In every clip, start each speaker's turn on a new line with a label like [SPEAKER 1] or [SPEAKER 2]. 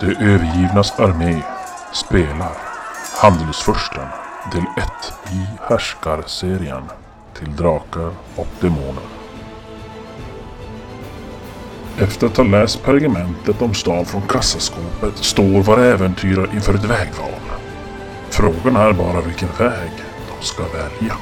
[SPEAKER 1] De övergivnas armé spelar Handelsfursten del 1 i Härskarserien till Drakar och Demoner. Efter att ha läst pergamentet om stan från kassaskåpet står våra äventyrare inför ett vägval. Frågan är bara vilken väg de ska välja.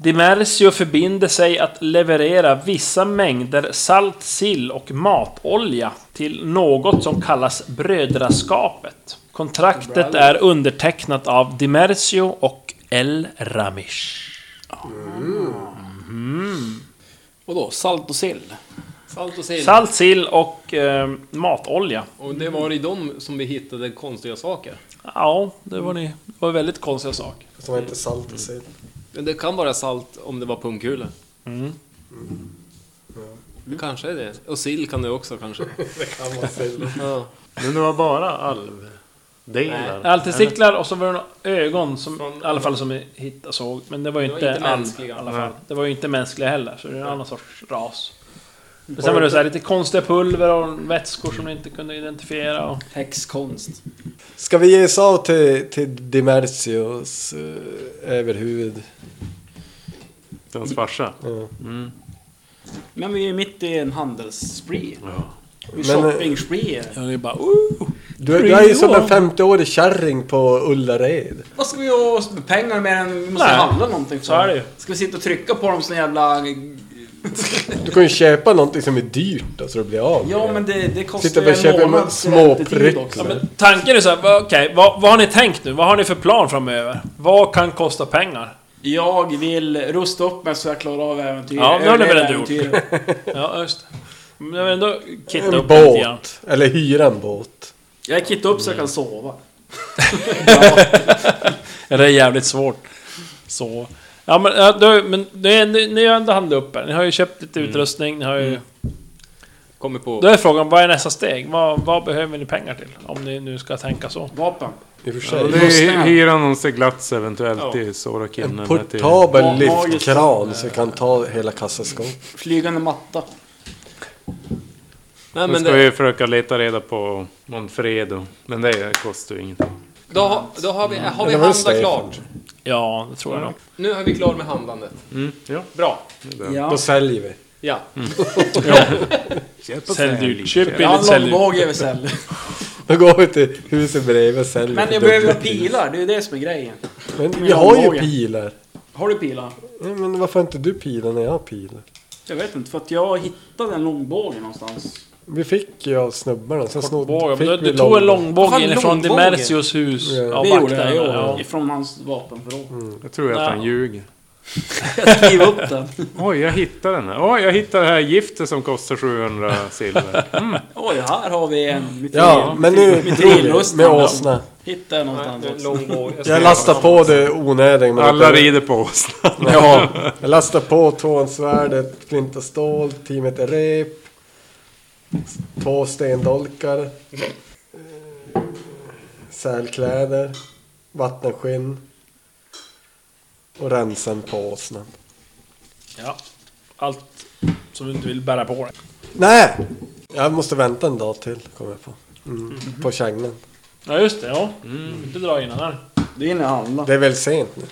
[SPEAKER 2] Dimercio förbinder sig att leverera vissa mängder salt, sill och matolja till något som kallas Brödraskapet. Kontraktet är undertecknat av Dimercio och El Ramish.
[SPEAKER 3] Vadå? Salt och sill? Salt och sill.
[SPEAKER 2] Salt, sill och eh, matolja.
[SPEAKER 3] Och det var i dem som vi hittade konstiga saker.
[SPEAKER 2] Ja, det var, ni, det var väldigt konstiga saker.
[SPEAKER 4] Fast det var inte salt i sig.
[SPEAKER 3] Men det kan vara salt om det var pungkulor.
[SPEAKER 2] Mm.
[SPEAKER 3] Det Kanske är det. Och sill kan det också kanske.
[SPEAKER 4] Det kan vara sill.
[SPEAKER 3] Ja.
[SPEAKER 5] Men det var bara alvdelar.
[SPEAKER 2] Altistiklar och så var det några ögon som i alla fall som vi hittade såg. Men det var ju
[SPEAKER 3] Det var
[SPEAKER 2] inte,
[SPEAKER 3] inte
[SPEAKER 2] all-
[SPEAKER 3] mänskliga.
[SPEAKER 2] i alla fall. Det var ju inte mänskliga heller, så det är en annan sorts ras.
[SPEAKER 3] Mm.
[SPEAKER 2] Men sen var det så här lite konstiga pulver och vätskor som ni inte kunde identifiera. Och...
[SPEAKER 3] Häxkonst.
[SPEAKER 4] Ska vi ge oss av till, till Dimercios eh, överhuvud?
[SPEAKER 5] Hans farsa.
[SPEAKER 6] Men vi är mitt i en handelsspree.
[SPEAKER 5] Ja.
[SPEAKER 6] En
[SPEAKER 4] Men, eh,
[SPEAKER 6] shoppingspree.
[SPEAKER 2] Ja, det är bara uh!
[SPEAKER 4] Du, du är ju som en 50-årig kärring på Ullared.
[SPEAKER 6] Vad ska vi göra oss med pengar mer än vi måste
[SPEAKER 2] Nej.
[SPEAKER 6] handla någonting för?
[SPEAKER 2] Så är det ju.
[SPEAKER 6] Ska vi sitta och trycka på dem sån jävla...
[SPEAKER 4] Du kan ju köpa någonting som är dyrt då, så du blir av med
[SPEAKER 6] Ja
[SPEAKER 4] det.
[SPEAKER 6] men det, det kostar
[SPEAKER 4] Sitta och
[SPEAKER 6] ju
[SPEAKER 4] köpa
[SPEAKER 6] en
[SPEAKER 4] en
[SPEAKER 6] månads räntetid också.
[SPEAKER 2] Ja,
[SPEAKER 4] småpryck.
[SPEAKER 2] men tanken är så här, va- okej, vad, vad har ni tänkt nu? Vad har ni för plan framöver? Vad kan kosta pengar?
[SPEAKER 6] Jag vill rusta upp mig så jag klarar av äventyr.
[SPEAKER 2] Ja, det har ni väl ändå
[SPEAKER 6] Överleva
[SPEAKER 2] gjort. Ja, just det. Men jag vill ändå kitta
[SPEAKER 4] En
[SPEAKER 2] upp lite grann.
[SPEAKER 4] båt. Eller hyra en båt.
[SPEAKER 6] Jag kittar upp så jag kan sova.
[SPEAKER 2] Ja, Det är jävligt svårt. Så... Ja men, ja, då, men ni, ni, ni har ändå handlat upp er. Ni har ju köpt lite utrustning, ni har ju...
[SPEAKER 3] Kommer på...
[SPEAKER 2] Då är frågan, vad är nästa steg? Vad, vad behöver ni pengar till? Om ni nu ska tänka så.
[SPEAKER 6] Vapen.
[SPEAKER 4] I och för
[SPEAKER 5] Och
[SPEAKER 4] sig.
[SPEAKER 5] det är hyra någon seglats eventuellt till Sorakin.
[SPEAKER 4] En
[SPEAKER 5] eller till-
[SPEAKER 6] Ma-
[SPEAKER 4] portabel
[SPEAKER 6] magiskt.
[SPEAKER 4] lyftkran som kan ta hela kassaskåpet.
[SPEAKER 6] Flygande matta.
[SPEAKER 3] Nej,
[SPEAKER 5] Nu
[SPEAKER 3] men
[SPEAKER 5] ska
[SPEAKER 3] det,
[SPEAKER 5] vi försöka leta reda på Monfredo. Men det kostar ju ingenting.
[SPEAKER 3] då, har- då har vi, har vi
[SPEAKER 4] Det var ju
[SPEAKER 3] handlat
[SPEAKER 4] Stefan.
[SPEAKER 3] klart.
[SPEAKER 2] Ja, det tror jag nog.
[SPEAKER 3] Nu är vi klar med handlandet.
[SPEAKER 5] Mm, ja.
[SPEAKER 3] Bra.
[SPEAKER 6] Ja.
[SPEAKER 4] Då säljer vi.
[SPEAKER 3] Ja.
[SPEAKER 2] Sälj dyrt. Köp
[SPEAKER 6] Jag har
[SPEAKER 2] billigt,
[SPEAKER 6] en
[SPEAKER 2] sälj dyrt.
[SPEAKER 6] långbåge jag vill sälja.
[SPEAKER 4] Då går vi till huset bredvid och säljer.
[SPEAKER 6] Men
[SPEAKER 4] för
[SPEAKER 6] jag behöver
[SPEAKER 4] dubbla pris.
[SPEAKER 6] pilar, det är ju det som är grejen.
[SPEAKER 4] Men vi
[SPEAKER 6] mina
[SPEAKER 4] har ju
[SPEAKER 6] armbågar.
[SPEAKER 4] pilar.
[SPEAKER 6] Har du pilar?
[SPEAKER 4] Nej, men varför har inte du pilar när jag har pilar?
[SPEAKER 6] Jag vet inte, för att jag hittade en långbåge någonstans.
[SPEAKER 4] Vi fick ju av snubbarna, sen
[SPEAKER 2] Båge,
[SPEAKER 4] snodde
[SPEAKER 2] men du,
[SPEAKER 4] fick
[SPEAKER 2] du
[SPEAKER 4] vi
[SPEAKER 2] tog en
[SPEAKER 4] långbåge.
[SPEAKER 2] långbåge
[SPEAKER 6] Fan,
[SPEAKER 2] inifrån
[SPEAKER 6] långbåge.
[SPEAKER 2] Dimercios hus.
[SPEAKER 4] Ja.
[SPEAKER 2] Ja,
[SPEAKER 6] det gjorde jag,
[SPEAKER 2] vakterna,
[SPEAKER 6] ja.
[SPEAKER 2] ja.
[SPEAKER 6] Ifrån hans vapenförråd.
[SPEAKER 5] Jag tror att han
[SPEAKER 2] Ja.
[SPEAKER 5] ljuger.
[SPEAKER 6] Jag skrev upp den.
[SPEAKER 5] Oj, jag hittade den här. Oj, jag hittade det här giftet som kostar 700 silver. Mm.
[SPEAKER 6] Oj, här har vi en mitril.
[SPEAKER 4] Ja, men nu
[SPEAKER 6] mitrilrustad.
[SPEAKER 4] med åsna.
[SPEAKER 6] Hittade jag någonstans också.
[SPEAKER 4] Jag lastar på det onödigt. men-
[SPEAKER 5] Alla rider på åsnan.
[SPEAKER 4] Ja, jag lastar på tvåansvärdet, flint och stål, teamet är rep, två stendolkar, eh, sälkläder, vattenskinn och rensen på åsnan.
[SPEAKER 2] ja. Allt som du inte vill bära på dig.
[SPEAKER 4] Nej! Jag måste vänta en dag till, kommer jag på. Mm, på kärnan.
[SPEAKER 2] Ja, just det. Ja. Inte dra innan här.
[SPEAKER 6] Du hinner handla.
[SPEAKER 4] Det är väl sent nu?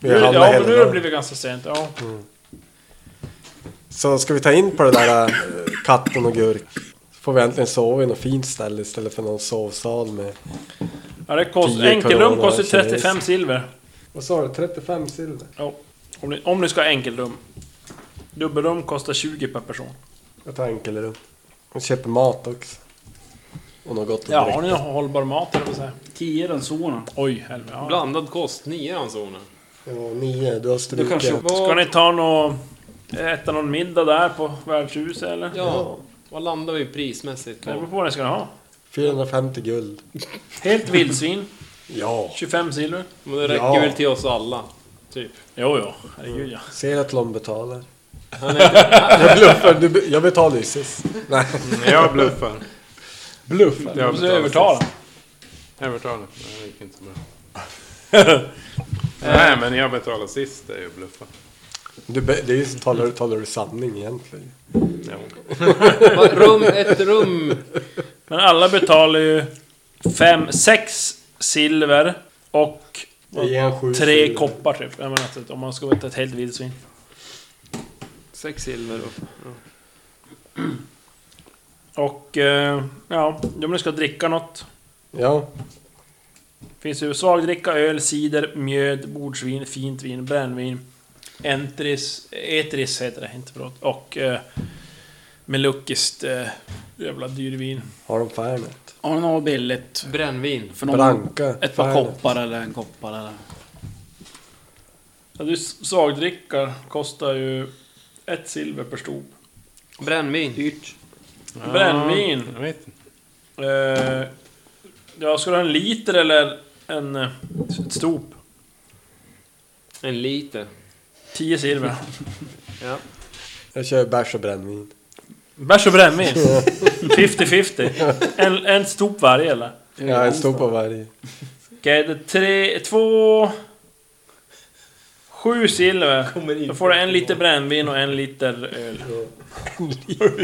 [SPEAKER 4] Vi
[SPEAKER 2] Nu,
[SPEAKER 4] har handlat
[SPEAKER 2] ja,
[SPEAKER 4] hela
[SPEAKER 2] men nu har det
[SPEAKER 4] dagen.
[SPEAKER 2] blivit ganska sent. Ja.
[SPEAKER 4] Så ska vi ta in på det där eh, katten och gurk. Så får vi äntligen sova i något fint ställe istället för någon sovsal med...
[SPEAKER 2] Ja, det kost,
[SPEAKER 4] Tio
[SPEAKER 2] enkelrum
[SPEAKER 4] corona,
[SPEAKER 2] kostar 35
[SPEAKER 4] kines.
[SPEAKER 2] silver.
[SPEAKER 4] Vad sa du? 35 silver?
[SPEAKER 2] Ja. Om, ni, om ni ska ha enkelrum. Dubbelrum kostar 20 per person.
[SPEAKER 4] Jag tar enkelrum. Och köper mat också. Och något gott att
[SPEAKER 2] Ja,
[SPEAKER 4] dricka.
[SPEAKER 2] har ni hållbar mat eller vad säger
[SPEAKER 6] Tio den zonen.
[SPEAKER 2] Oj, helvete. Ja.
[SPEAKER 3] Blandad kost, nio ransoner.
[SPEAKER 4] Ja, nio. Du har
[SPEAKER 6] Du kanske
[SPEAKER 4] strukit.
[SPEAKER 2] Ska
[SPEAKER 3] Vad,
[SPEAKER 2] ni ta någon... Äta någon middag där på värdshuset eller? Ja.
[SPEAKER 3] ja, vad landar vi prismässigt
[SPEAKER 2] Det beror
[SPEAKER 3] på?
[SPEAKER 2] på vad ni ska ha.
[SPEAKER 4] 450 guld.
[SPEAKER 2] Helt vildsvin,
[SPEAKER 4] Ja.
[SPEAKER 2] 25 silver.
[SPEAKER 3] Men det räcker
[SPEAKER 4] Ja.
[SPEAKER 3] väl till oss alla? Typ.
[SPEAKER 2] Jo, jo. Herregud ja.
[SPEAKER 4] Ser att Lom betalar. jag bluffar. Du, be- jag betalar ju sist. Nej.
[SPEAKER 5] Jag bluffar.
[SPEAKER 2] Bluff. Du
[SPEAKER 5] Jag
[SPEAKER 2] måste
[SPEAKER 5] betalar
[SPEAKER 2] övertala.
[SPEAKER 5] Jag betalar. Nej, det gick inte så bra. Nej, men jag betalar sist. Det är ju bluffa.
[SPEAKER 4] Du, be- det är ju så talar, talar du sanning egentligen.
[SPEAKER 6] Va, rum, ett rum.
[SPEAKER 2] Men alla betalar ju fem, sex silver och
[SPEAKER 4] Jag ger en sju
[SPEAKER 2] tre
[SPEAKER 4] silver.
[SPEAKER 2] koppar typ. Jag menar, att om man ska vara ett helt vildsvin.
[SPEAKER 5] Sex silver och...
[SPEAKER 2] Och eh, ja, om ni ska dricka något.
[SPEAKER 4] Ja,
[SPEAKER 2] Finns ju svagdricka, öl, cider, mjöd, bordsvin, fint vin, brännvin. Entris, etris heter det, inte förlåt. Och eh, melukiskt eh, jävla dyrvin.
[SPEAKER 4] har de Fernet?
[SPEAKER 6] Har ni något billigt?
[SPEAKER 3] Brännvin.
[SPEAKER 6] För någon,
[SPEAKER 4] Branka?
[SPEAKER 6] ett
[SPEAKER 4] Fernet.
[SPEAKER 6] par koppar eller en koppar eller...
[SPEAKER 2] Ja, du svagdricka kostar ju ett silver per stop.
[SPEAKER 3] Brännvin.
[SPEAKER 6] Dyrt.
[SPEAKER 2] Brännvin.
[SPEAKER 5] Jag vet inte.
[SPEAKER 2] Eh, ja, ska du ha en liter eller en, eh, ett stop?
[SPEAKER 3] En liter.
[SPEAKER 2] 10 silver.
[SPEAKER 3] Ja.
[SPEAKER 4] Jag kör bärs och brännvin.
[SPEAKER 2] Bärs och brännvin. 50-50. En, en stop varje eller?
[SPEAKER 4] Ja, en står på varje.
[SPEAKER 2] Okej, det är tre, två... Sju silver. Då får du en liter brännvin och en liter öl.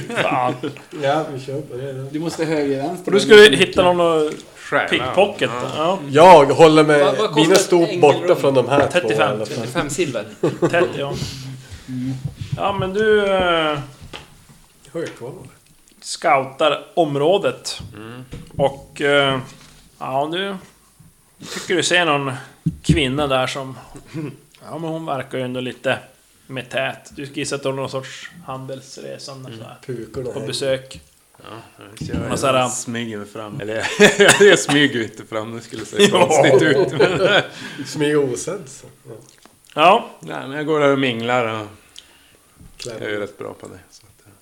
[SPEAKER 2] Fan.
[SPEAKER 4] Ja, vi kör på det då.
[SPEAKER 6] Du måste höger vänster.
[SPEAKER 2] Och du skulle hitta någon att
[SPEAKER 5] Stjärna.
[SPEAKER 2] pickpocket. Ja,
[SPEAKER 4] Jag håller mig...
[SPEAKER 3] Vad- vad kostar
[SPEAKER 4] mina
[SPEAKER 3] ett
[SPEAKER 4] stod
[SPEAKER 3] ängelrum?
[SPEAKER 4] borta från de här
[SPEAKER 2] 35.
[SPEAKER 4] två i alla fall.
[SPEAKER 3] Fem silver.
[SPEAKER 2] 30 ja. Ja men du... eh, scoutar området. Och... eh, Ja, du... Tycker du ser någon kvinna där som... Ja, men hon verkar ju ändå lite med tät. Du gissar att hon är någon sorts handelsresande sådär.
[SPEAKER 4] Pukorna.
[SPEAKER 2] På
[SPEAKER 4] här.
[SPEAKER 2] besök.
[SPEAKER 5] Jag,
[SPEAKER 2] Och sådär,
[SPEAKER 5] smyger mig fram. Eller jag smyger inte fram, det skulle se konstigt ut. Men,
[SPEAKER 4] Smyga osedd så. Ja,
[SPEAKER 2] ja,
[SPEAKER 5] nej, men jag går där och minglar och jag är
[SPEAKER 4] kläm.
[SPEAKER 5] ju rätt bra på det. Så att, eh,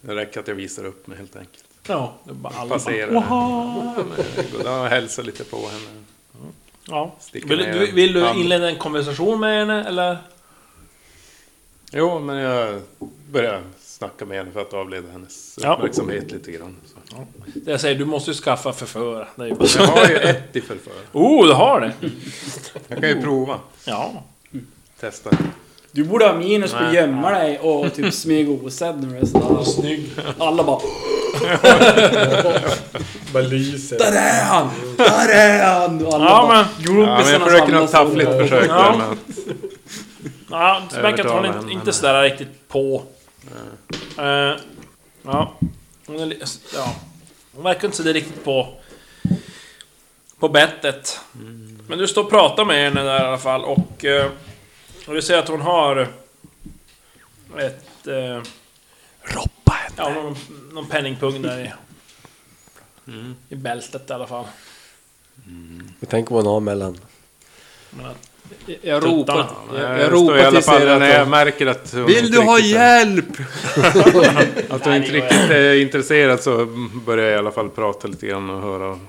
[SPEAKER 5] det räcker att jag visar upp mig helt enkelt.
[SPEAKER 2] ja, det är bara alla.
[SPEAKER 5] Passerar henne. Goddag, hälsar lite på henne.
[SPEAKER 2] Ja.
[SPEAKER 5] Sticker
[SPEAKER 2] Vill,
[SPEAKER 5] ner
[SPEAKER 2] du,
[SPEAKER 5] en
[SPEAKER 2] vill du
[SPEAKER 5] hand.
[SPEAKER 2] inleda en konversation med henne eller?
[SPEAKER 5] Jo, men jag börjar snacka med henne för att avleda hennes
[SPEAKER 2] Ja.
[SPEAKER 5] uppmärksamhet lite grann. Så.
[SPEAKER 2] Det jag säger, du måste ju skaffa förförare. Det är ju bara
[SPEAKER 5] Jag
[SPEAKER 2] så.
[SPEAKER 5] har ju ett i förför.
[SPEAKER 2] Oh, du har det!
[SPEAKER 5] Jag kan ju prova.
[SPEAKER 2] Ja.
[SPEAKER 5] Testa.
[SPEAKER 6] Du borde ha minus på att
[SPEAKER 5] Nej.
[SPEAKER 6] gömma dig och typ smyga osedd när du är sådär. Snygg. Alla bara
[SPEAKER 4] Bara lyser.
[SPEAKER 6] Där är han! Där är han! Och alla
[SPEAKER 2] Ja
[SPEAKER 6] bara,
[SPEAKER 2] men...
[SPEAKER 5] Ja, men jag försöker något taffligt försök
[SPEAKER 2] Ja.
[SPEAKER 5] där med att
[SPEAKER 2] Ja, det verkar att hon
[SPEAKER 5] Övertala
[SPEAKER 2] inte,
[SPEAKER 5] henne.
[SPEAKER 2] inte sådär riktigt på. Eh, ja. Hon är, li- ja. Hon verkar inte sådär riktigt på... På bettet. Men du står och pratar med henne där i alla fall och... eh, och du ser att hon har... Ett... Eh, Roppa Ja, någon, någon penningpung där i... I bältet i alla fall.
[SPEAKER 4] Jag tänker vad han har mellan.
[SPEAKER 2] Men att,
[SPEAKER 6] Jag, jag ropar,
[SPEAKER 2] Tuttarna,
[SPEAKER 6] jag,
[SPEAKER 5] Jag,
[SPEAKER 6] jag
[SPEAKER 5] står i
[SPEAKER 6] ropar
[SPEAKER 5] alla
[SPEAKER 6] tills
[SPEAKER 5] fall
[SPEAKER 6] er
[SPEAKER 5] när jag
[SPEAKER 6] att
[SPEAKER 5] märker att hon
[SPEAKER 3] Vill
[SPEAKER 5] inte
[SPEAKER 3] du ha
[SPEAKER 5] riktigt är-
[SPEAKER 3] hjälp?
[SPEAKER 5] Att hon inte riktigt är intresserad så börjar jag i alla fall prata lite grann och höra om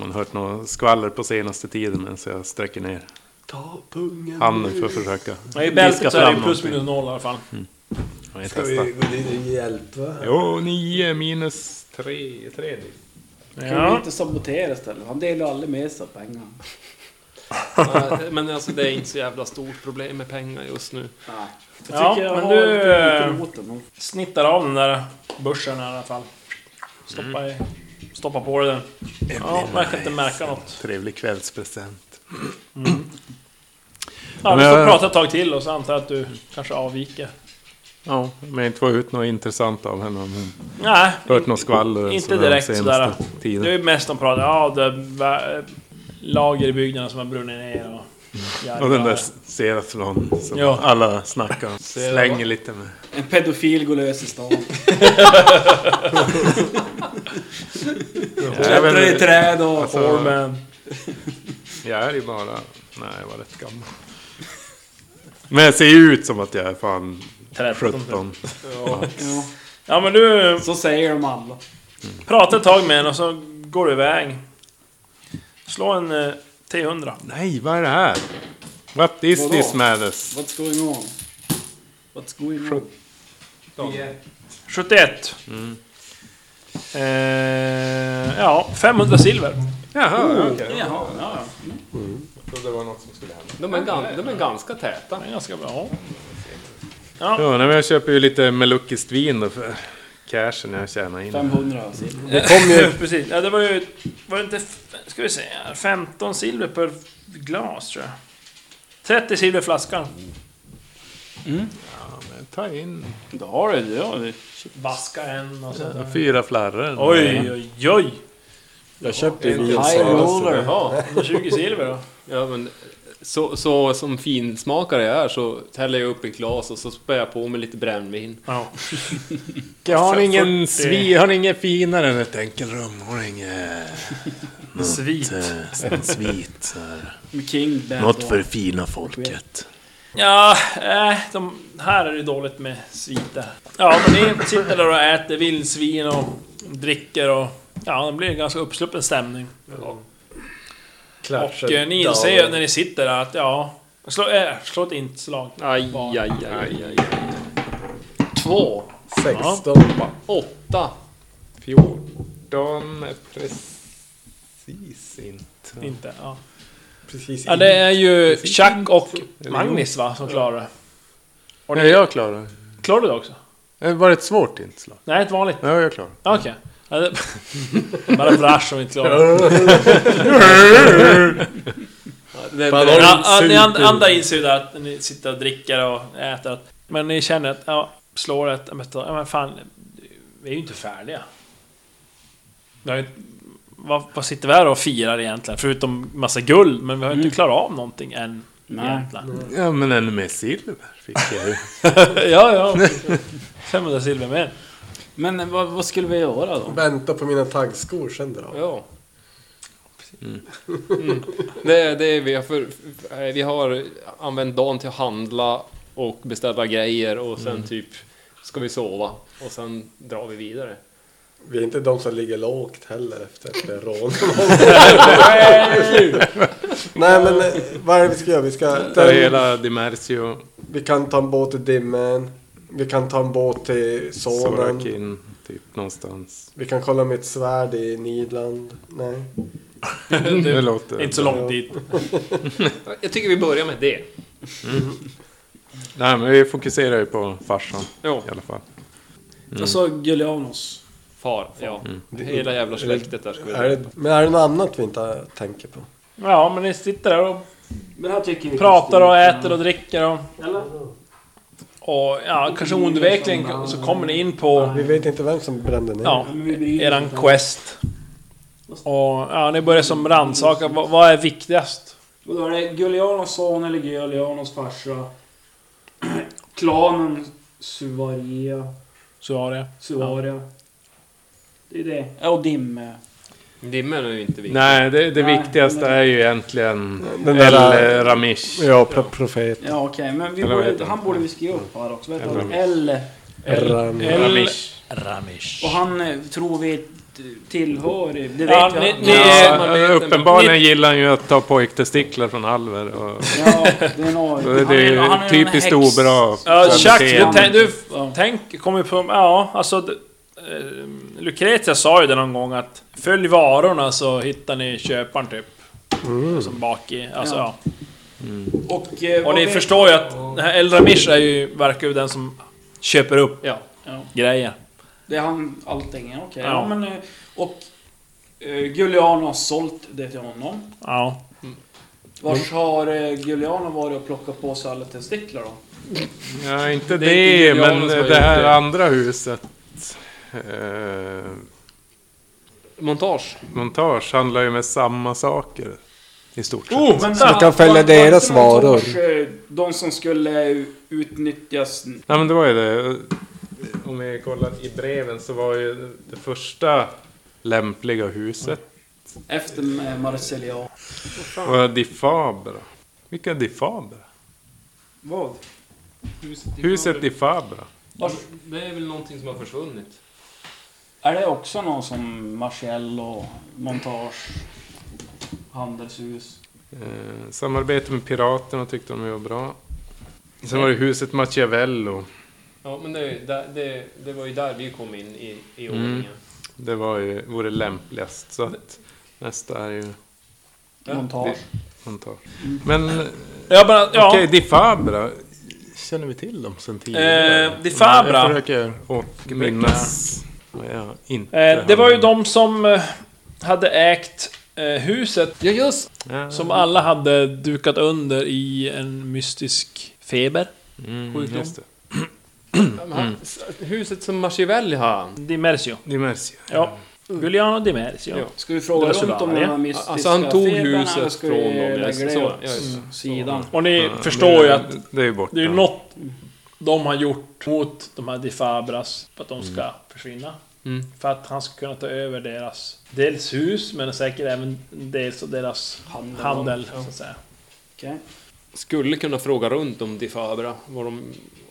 [SPEAKER 5] hon hört något skvaller på senaste tiden. Men så jag sträcker ner
[SPEAKER 4] Ta pungen.
[SPEAKER 5] handen för att försöka
[SPEAKER 2] ja, I bältet så är det ju
[SPEAKER 5] fram
[SPEAKER 2] plus
[SPEAKER 5] någonting.
[SPEAKER 2] minus noll i alla fall.
[SPEAKER 5] Ja, jag
[SPEAKER 4] Ska vi
[SPEAKER 5] testar.
[SPEAKER 4] gå dit och hjälpa?
[SPEAKER 5] Jo, nio minus tre. tre.
[SPEAKER 6] ja.
[SPEAKER 2] Ja.
[SPEAKER 6] inte sabotera istället. Han delar ju aldrig med sig av pengar.
[SPEAKER 3] Nej, Men alltså det är inte så jävla stort problem med pengar just nu.
[SPEAKER 2] Ja,
[SPEAKER 6] Jag tycker jag
[SPEAKER 2] men
[SPEAKER 6] har
[SPEAKER 2] du,
[SPEAKER 6] lite
[SPEAKER 2] eh,
[SPEAKER 6] mot honom.
[SPEAKER 2] Snittar av den där börsen här i alla fall. Stoppa, i, stoppa på dig den. Ja, verkar inte märka något.
[SPEAKER 5] Trevlig kvällspresent.
[SPEAKER 2] Ja, vi
[SPEAKER 5] Men
[SPEAKER 2] får
[SPEAKER 5] jag-
[SPEAKER 2] prata ett tag till och så antar jag att du kanske avviker.
[SPEAKER 5] Ja, men inte få ut något intressant av henne. Om hon
[SPEAKER 2] Nej,
[SPEAKER 5] hört något skvaller
[SPEAKER 2] inte
[SPEAKER 5] sådär
[SPEAKER 2] direkt
[SPEAKER 5] senaste
[SPEAKER 2] sådär.
[SPEAKER 5] Tiden.
[SPEAKER 2] det är ju mest de pratar ja, det är va- lager i byggnaden som har brunnit ner och...
[SPEAKER 5] Och den där Seraflon som
[SPEAKER 2] Ja.
[SPEAKER 5] alla snackar om. Slänger lite med.
[SPEAKER 6] En pedofil går lös i stan.
[SPEAKER 5] jag, vet
[SPEAKER 6] Klättrar i
[SPEAKER 5] inte.
[SPEAKER 6] träd och...
[SPEAKER 5] Alltså-
[SPEAKER 2] Formen.
[SPEAKER 5] jag är ju bara... Nej, jag var rätt gammal. Men jag ser ju ut som att jag är fan
[SPEAKER 2] 13.
[SPEAKER 5] 17.
[SPEAKER 6] Ja,
[SPEAKER 2] Ja men du
[SPEAKER 6] så säger de alla.
[SPEAKER 2] pratar ett tag med henne och så går du iväg. Slå en eh, T100.
[SPEAKER 5] Nej, vad är det här? What is
[SPEAKER 6] Vadå?
[SPEAKER 5] this madness?
[SPEAKER 6] What's going on? What's going on?
[SPEAKER 2] 71. Eh, ja, 500 silver.
[SPEAKER 5] Jaha, okej.
[SPEAKER 6] Jaha, ja,
[SPEAKER 5] Jag trodde det var något som skulle hända.
[SPEAKER 3] De är, gan, de är ganska täta.
[SPEAKER 2] Det är ganska bra. Ja.
[SPEAKER 5] Ja, nej, men jag köper ju lite Meluckiskt vin då för cashen jag tjänar in.
[SPEAKER 6] 500 silver.
[SPEAKER 4] Det kom ju...
[SPEAKER 2] Precis. Ja, det var ju... Var det inte... f- Ska vi se här. 15 silver per glas, tror jag. 30 silver flaskan.
[SPEAKER 5] Ta in
[SPEAKER 6] Då har du det. Ja, det.
[SPEAKER 2] Vaska en och så.
[SPEAKER 5] fyra flarror.
[SPEAKER 2] Oj, oj, oj!
[SPEAKER 4] Jag köpte ju vin
[SPEAKER 6] High
[SPEAKER 4] senast.
[SPEAKER 6] roller.
[SPEAKER 2] Jaha, 120 silver då.
[SPEAKER 3] Ja, men, så, så som finsmakare jag är så häller jag upp en glas och så spär jag på med lite brännvin.
[SPEAKER 2] Ja.
[SPEAKER 5] Har ni ingen
[SPEAKER 2] 40.
[SPEAKER 5] svi, har ni ingen finare än ett enkelrum? Har ni inget...
[SPEAKER 2] Svit.
[SPEAKER 5] eh, En svit. här?
[SPEAKER 6] King Bad
[SPEAKER 5] Något
[SPEAKER 6] Boy.
[SPEAKER 5] för fina folket.
[SPEAKER 2] Ja, eh, de här är det dåligt med sviter. Ja, men ni sitter där och äter vildsvin och dricker och... Ja, det blir en ganska uppsluppen stämning. Och eh, ni inser ju när ni sitter där att ja... Slå, eh, slå ett inslag.
[SPEAKER 3] Aj, aj, aj, aj, aj.
[SPEAKER 2] Två.
[SPEAKER 4] 16 bara.
[SPEAKER 3] Åtta.
[SPEAKER 5] 14 är precis inte.
[SPEAKER 2] Inte, ja.
[SPEAKER 4] Precis
[SPEAKER 2] ja.
[SPEAKER 4] in.
[SPEAKER 2] Det är ju Chuck och Magnus va, som klarar det.
[SPEAKER 5] Nej, jag klarar det.
[SPEAKER 2] Klarar du det också?
[SPEAKER 5] det. Var det ett svårt inslag?
[SPEAKER 2] Nej, ett vanligt.
[SPEAKER 5] Ja, jag klarar
[SPEAKER 2] Okej. Ja, det... Bara brash som inte klarar det.
[SPEAKER 3] Den,
[SPEAKER 4] Fan,
[SPEAKER 3] den,
[SPEAKER 4] har
[SPEAKER 2] ja, ja, Ni and- andra inser ju där att ni sitter och dricker och äter. att- Men ni känner att, ja, slår ett... ja, men ta- Ja, men fan. Vi är ju inte färdiga. Vi har ju... vad, vad sitter vi här och firar egentligen? Förutom massa guld, men vi har ju inte klarat av någonting än.
[SPEAKER 6] Nej.
[SPEAKER 2] Egentligen.
[SPEAKER 5] det. Ja, men ännu mer silver fick jag ju.
[SPEAKER 2] ja, ja. 500 silver mer.
[SPEAKER 6] Men eh, vad, vad skulle vi göra då?
[SPEAKER 4] Vänta på mina taggskor, sen dra.
[SPEAKER 3] ja. Mm. Det, det är vi, har för, eh, vi har använt dagen till att handla och beställa grejer och sen typ ska vi sova och sen drar vi vidare.
[SPEAKER 4] Vi är inte de som ligger lågt heller efter ett rån. Nej men eh, vad är det vi ska göra? Vi ska...
[SPEAKER 5] Ta hela Dimercio,
[SPEAKER 4] Vi kan ta en båt till Dimmen. Vi kan ta en båt till Sonen.
[SPEAKER 5] Sorakin, typ någonstans.
[SPEAKER 4] Vi kan kolla mitt svärd i Nidland. Nej.
[SPEAKER 5] Det låter...
[SPEAKER 2] Inte så långt dit.
[SPEAKER 3] Jag tycker vi börjar med det.
[SPEAKER 5] Nej, men vi fokuserar ju på farsan
[SPEAKER 3] Ja,
[SPEAKER 5] i alla fall.
[SPEAKER 6] Jag sa Gulianos.
[SPEAKER 3] far. Ja. Hela jävla släktet där ska vi
[SPEAKER 4] Är det, men är det något annat vi inte tänker på?
[SPEAKER 2] Ja, men ni sitter där och
[SPEAKER 6] Men jag tycker vi
[SPEAKER 2] Pratar och äter och dricker och...
[SPEAKER 6] Eller?
[SPEAKER 2] Och ja, kanske oundvikligen så kommer ni in på...
[SPEAKER 4] Vi vet inte vem som brände ner.
[SPEAKER 2] Ja, eran quest. Och ja, ni börjar som rannsaka. Vad, vad är viktigast?
[SPEAKER 6] Och då är det Gulianos son eller Gulianos farsa. Klanen Suvaria.
[SPEAKER 2] Så har det.
[SPEAKER 6] Suvaria. Det är det. Ja, och Dimme.
[SPEAKER 3] Dimmen är ju inte vi.
[SPEAKER 5] Nej, det, det
[SPEAKER 6] Nej,
[SPEAKER 5] viktigaste
[SPEAKER 6] men-
[SPEAKER 5] är ju egentligen
[SPEAKER 4] Den
[SPEAKER 5] El
[SPEAKER 4] där-
[SPEAKER 5] Ramish.
[SPEAKER 4] Ja, pro- profet.
[SPEAKER 6] Ja, okej. Men vi
[SPEAKER 5] Eller vad heter
[SPEAKER 6] borde,
[SPEAKER 5] han?
[SPEAKER 6] han borde vi skriva upp här också. Vad heter
[SPEAKER 5] Eller-
[SPEAKER 6] han? L.
[SPEAKER 4] Ram.
[SPEAKER 2] El-
[SPEAKER 5] Ramish.
[SPEAKER 2] Ramish.
[SPEAKER 6] Och han eh, tror vi tillhör... Det vet
[SPEAKER 2] Ja,
[SPEAKER 6] jag.
[SPEAKER 2] ni-
[SPEAKER 6] inte.
[SPEAKER 2] ni-
[SPEAKER 5] Ja,
[SPEAKER 3] samarbete med-
[SPEAKER 5] uppenbarligen gillar han ju att ta pojktestiklar från Alver. Och,
[SPEAKER 6] Ja, det är en AI.
[SPEAKER 5] och det är ju
[SPEAKER 6] han är en
[SPEAKER 5] typiskt
[SPEAKER 6] häx.
[SPEAKER 5] obra.
[SPEAKER 2] Ja, Chuck, du,
[SPEAKER 5] kvalitet.
[SPEAKER 2] tän- du
[SPEAKER 6] Ja.
[SPEAKER 2] tänk, kommer på... Ja, alltså... d- Eh, Lucretia sa ju det någon gång att följ varorna så hittar ni köparen typ. Som bak i, alltså
[SPEAKER 6] Ja.
[SPEAKER 2] ja.
[SPEAKER 6] Och, eh,
[SPEAKER 2] Och
[SPEAKER 6] vad
[SPEAKER 2] ni
[SPEAKER 6] vet-
[SPEAKER 2] förstår ju att den här El Ramish är ju, verkar ju den som köper upp
[SPEAKER 3] Ja.
[SPEAKER 6] Ja.
[SPEAKER 2] grejer.
[SPEAKER 6] Det är han allting, ja, okej.
[SPEAKER 2] Ja.
[SPEAKER 6] Ja. men... eh, Och... eh, Guliano har sålt det till honom.
[SPEAKER 2] Ja.
[SPEAKER 6] Vars
[SPEAKER 5] Mm.
[SPEAKER 6] har eh, Guliano varit och plockat på sig alla testiklar då?
[SPEAKER 5] Ja, inte
[SPEAKER 3] Det är
[SPEAKER 5] det,
[SPEAKER 3] inte
[SPEAKER 5] men
[SPEAKER 3] Julianus som har
[SPEAKER 5] det här
[SPEAKER 3] gjort det.
[SPEAKER 5] andra huset. Eh,
[SPEAKER 3] Montage.
[SPEAKER 5] montage handlar ju med samma saker. I stort sett.
[SPEAKER 2] Oh,
[SPEAKER 4] Vi kan följa
[SPEAKER 6] Var- var
[SPEAKER 4] deras
[SPEAKER 6] inte någon
[SPEAKER 4] varor.
[SPEAKER 6] sorts, eh, De som skulle utnyttjas...
[SPEAKER 5] Nej men det var ju det. Om vi kollar i breven så var ju det första lämpliga huset
[SPEAKER 6] Efter eh, Marcellia.
[SPEAKER 5] var Difabra. Vilka är Difabra?
[SPEAKER 6] Vad?
[SPEAKER 5] Huset Difabra.
[SPEAKER 3] Det är väl någonting som har försvunnit.
[SPEAKER 6] Är det också någon som Marcel och Montage? Handelshus?
[SPEAKER 5] Eh, samarbete med piraterna tyckte de ju var bra. Sen var det huset Machiavello.
[SPEAKER 3] Ja, men det, det, det, det var ju där vi kom in i, i
[SPEAKER 5] Mm.
[SPEAKER 3] ordningen.
[SPEAKER 5] Det var ju, vore lämpligast. Så att nästa är ju
[SPEAKER 6] Montage?
[SPEAKER 5] montage. Men
[SPEAKER 2] Jag bara, ja.
[SPEAKER 5] okej, Difabra.
[SPEAKER 7] känner vi till dem sen tidigare?
[SPEAKER 2] Eh, Di Fabra.
[SPEAKER 7] Jag försöker
[SPEAKER 5] Och
[SPEAKER 7] återblicka.
[SPEAKER 5] minnas vad jag inte
[SPEAKER 2] Eh, det
[SPEAKER 5] hann-
[SPEAKER 2] var ju de som eh, hade ägt eh, huset
[SPEAKER 3] Ja just
[SPEAKER 5] Ja.
[SPEAKER 2] som alla hade dukat under i en mystisk feber.
[SPEAKER 5] Mm,
[SPEAKER 2] sjukdom.
[SPEAKER 5] just det.
[SPEAKER 3] Men han- s- Huset som Machiavelli har han.
[SPEAKER 2] Di Mercio.
[SPEAKER 5] Det märks ju.
[SPEAKER 2] Ja. Giuliano Di Mercio.
[SPEAKER 3] Mm. Ja.
[SPEAKER 6] Ska vi fråga
[SPEAKER 2] Det är
[SPEAKER 6] runt om
[SPEAKER 2] Sudan,
[SPEAKER 6] de här
[SPEAKER 2] ja.
[SPEAKER 6] mystiska
[SPEAKER 3] Alltså, han tog
[SPEAKER 6] feberna,
[SPEAKER 3] huset
[SPEAKER 6] eller ska
[SPEAKER 3] från
[SPEAKER 6] vi
[SPEAKER 3] dem, ja,
[SPEAKER 6] lägga
[SPEAKER 3] just
[SPEAKER 6] det
[SPEAKER 3] så,
[SPEAKER 6] åt
[SPEAKER 3] ja, just
[SPEAKER 6] Mm.
[SPEAKER 3] så.
[SPEAKER 6] sidan?
[SPEAKER 2] Och ni
[SPEAKER 5] Ja,
[SPEAKER 2] förstår ju
[SPEAKER 5] det-
[SPEAKER 2] att
[SPEAKER 5] Det är ju borta.
[SPEAKER 2] det är ju något de har gjort mot de här Di Fabras för att de ska försvinna.
[SPEAKER 3] Mm.
[SPEAKER 2] För att han ska kunna ta över deras dels hus men säkert även dels deras
[SPEAKER 6] Handel.
[SPEAKER 2] handel så att säga.
[SPEAKER 6] Okej.
[SPEAKER 3] Skulle kunna fråga runt om Di Fabra, vad de,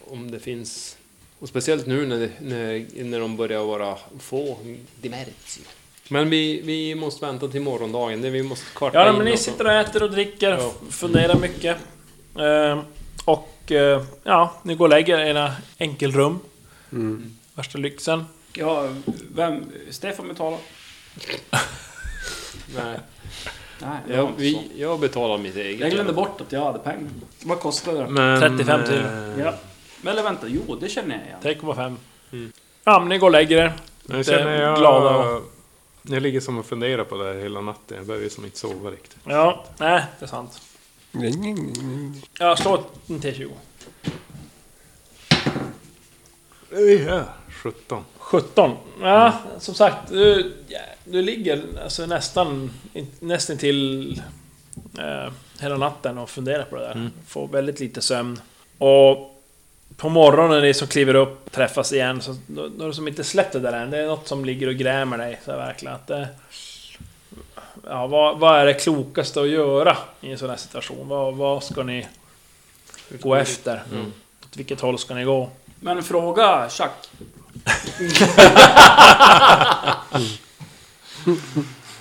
[SPEAKER 3] om det finns. Och speciellt nu när, när, när de börjar vara få. Dimerzi. Men vi, vi måste vänta till morgondagen, det vi måste karta
[SPEAKER 2] Ja,
[SPEAKER 3] in
[SPEAKER 2] men ni
[SPEAKER 3] och-
[SPEAKER 2] sitter och äter och dricker,
[SPEAKER 3] Ja.
[SPEAKER 2] f- funderar mycket. Ehm, och eh, ja, ni går och lägger er i era enkelrum. Värsta lyxen.
[SPEAKER 6] Ja, vem? Stefan betalar?
[SPEAKER 3] Nej,
[SPEAKER 6] Nej, det var
[SPEAKER 3] jag,
[SPEAKER 6] inte så.
[SPEAKER 3] vi, jag betalar mitt eget.
[SPEAKER 6] Jag glömde bort att jag hade pengar. Vad kostade det?
[SPEAKER 5] Men,
[SPEAKER 2] 35 till.
[SPEAKER 5] eh,
[SPEAKER 6] Ja. Men eller vänta, jo det känner jag igen.
[SPEAKER 2] 3,5. Ja, men ni går och lägger er.
[SPEAKER 5] Nu känner jag...
[SPEAKER 2] glada och-
[SPEAKER 5] Jag ligger som och funderar på det här hela natten. Jag behöver ju som inte sova riktigt.
[SPEAKER 2] Ja, nej, det är sant. Ja, slå en T20.
[SPEAKER 5] Ja, 17.
[SPEAKER 2] 17. Ja, som sagt. Du, ja, du ligger alltså nästan in- nästan till eh, hela natten och funderar på det där. Får väldigt lite sömn. Och på morgonen, ni som kliver upp, träffas igen. Så då, då har du som inte släppt det där än. Det är något som ligger och grämer dig. Så här, verkligen att det, ja, vad, vad är det klokaste att göra i en sån här situation? Vad, vad ska ni gå efter? Åt vilket håll ska ni gå?
[SPEAKER 6] Men fråga Chuck.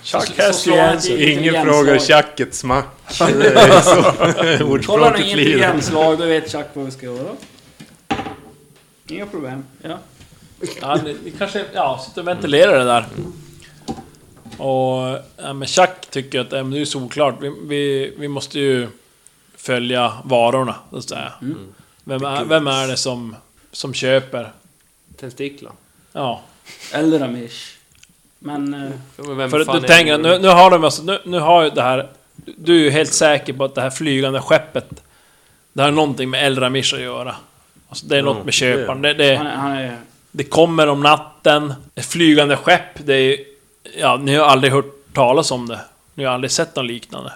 [SPEAKER 2] Chuck
[SPEAKER 6] Så-
[SPEAKER 2] has
[SPEAKER 6] så slår
[SPEAKER 2] the
[SPEAKER 6] han
[SPEAKER 2] answer.
[SPEAKER 6] ett
[SPEAKER 5] Ingen
[SPEAKER 6] intelligensslag.
[SPEAKER 5] frågar tjacket smack. Det är så
[SPEAKER 6] Kolla nu
[SPEAKER 5] Ordspråket lider.
[SPEAKER 6] intelligenslag, då vet Chuck vad vi ska göra. Inga problem. Ja.
[SPEAKER 2] Ja, ni, ni kanske ja, sitter och ventilerar det där. Och ja, men Chuck tycker att ja, men det är solklart. Vi, vi, vi måste ju följa varorna, så att säga. Vem, är, vem är Mm. det som, som köper?
[SPEAKER 3] Testiklar.
[SPEAKER 2] Ja.
[SPEAKER 6] Eller Amish. Men... eh,
[SPEAKER 3] Ja, men vem
[SPEAKER 2] För
[SPEAKER 3] fan
[SPEAKER 2] att
[SPEAKER 3] är
[SPEAKER 2] du tänker att
[SPEAKER 3] det?
[SPEAKER 2] nu, nu har de alltså, nu, nu har ju det här... Du är ju helt säker på att det här flygande skeppet... Det har någonting med Elramish att göra. Alltså det är något med köparen. Det, det,
[SPEAKER 6] Han, är- han är...
[SPEAKER 2] Det kommer om natten. Ett flygande skepp, det är ju- Ja, ni har aldrig hört talas om det. Ni har aldrig sett något liknande.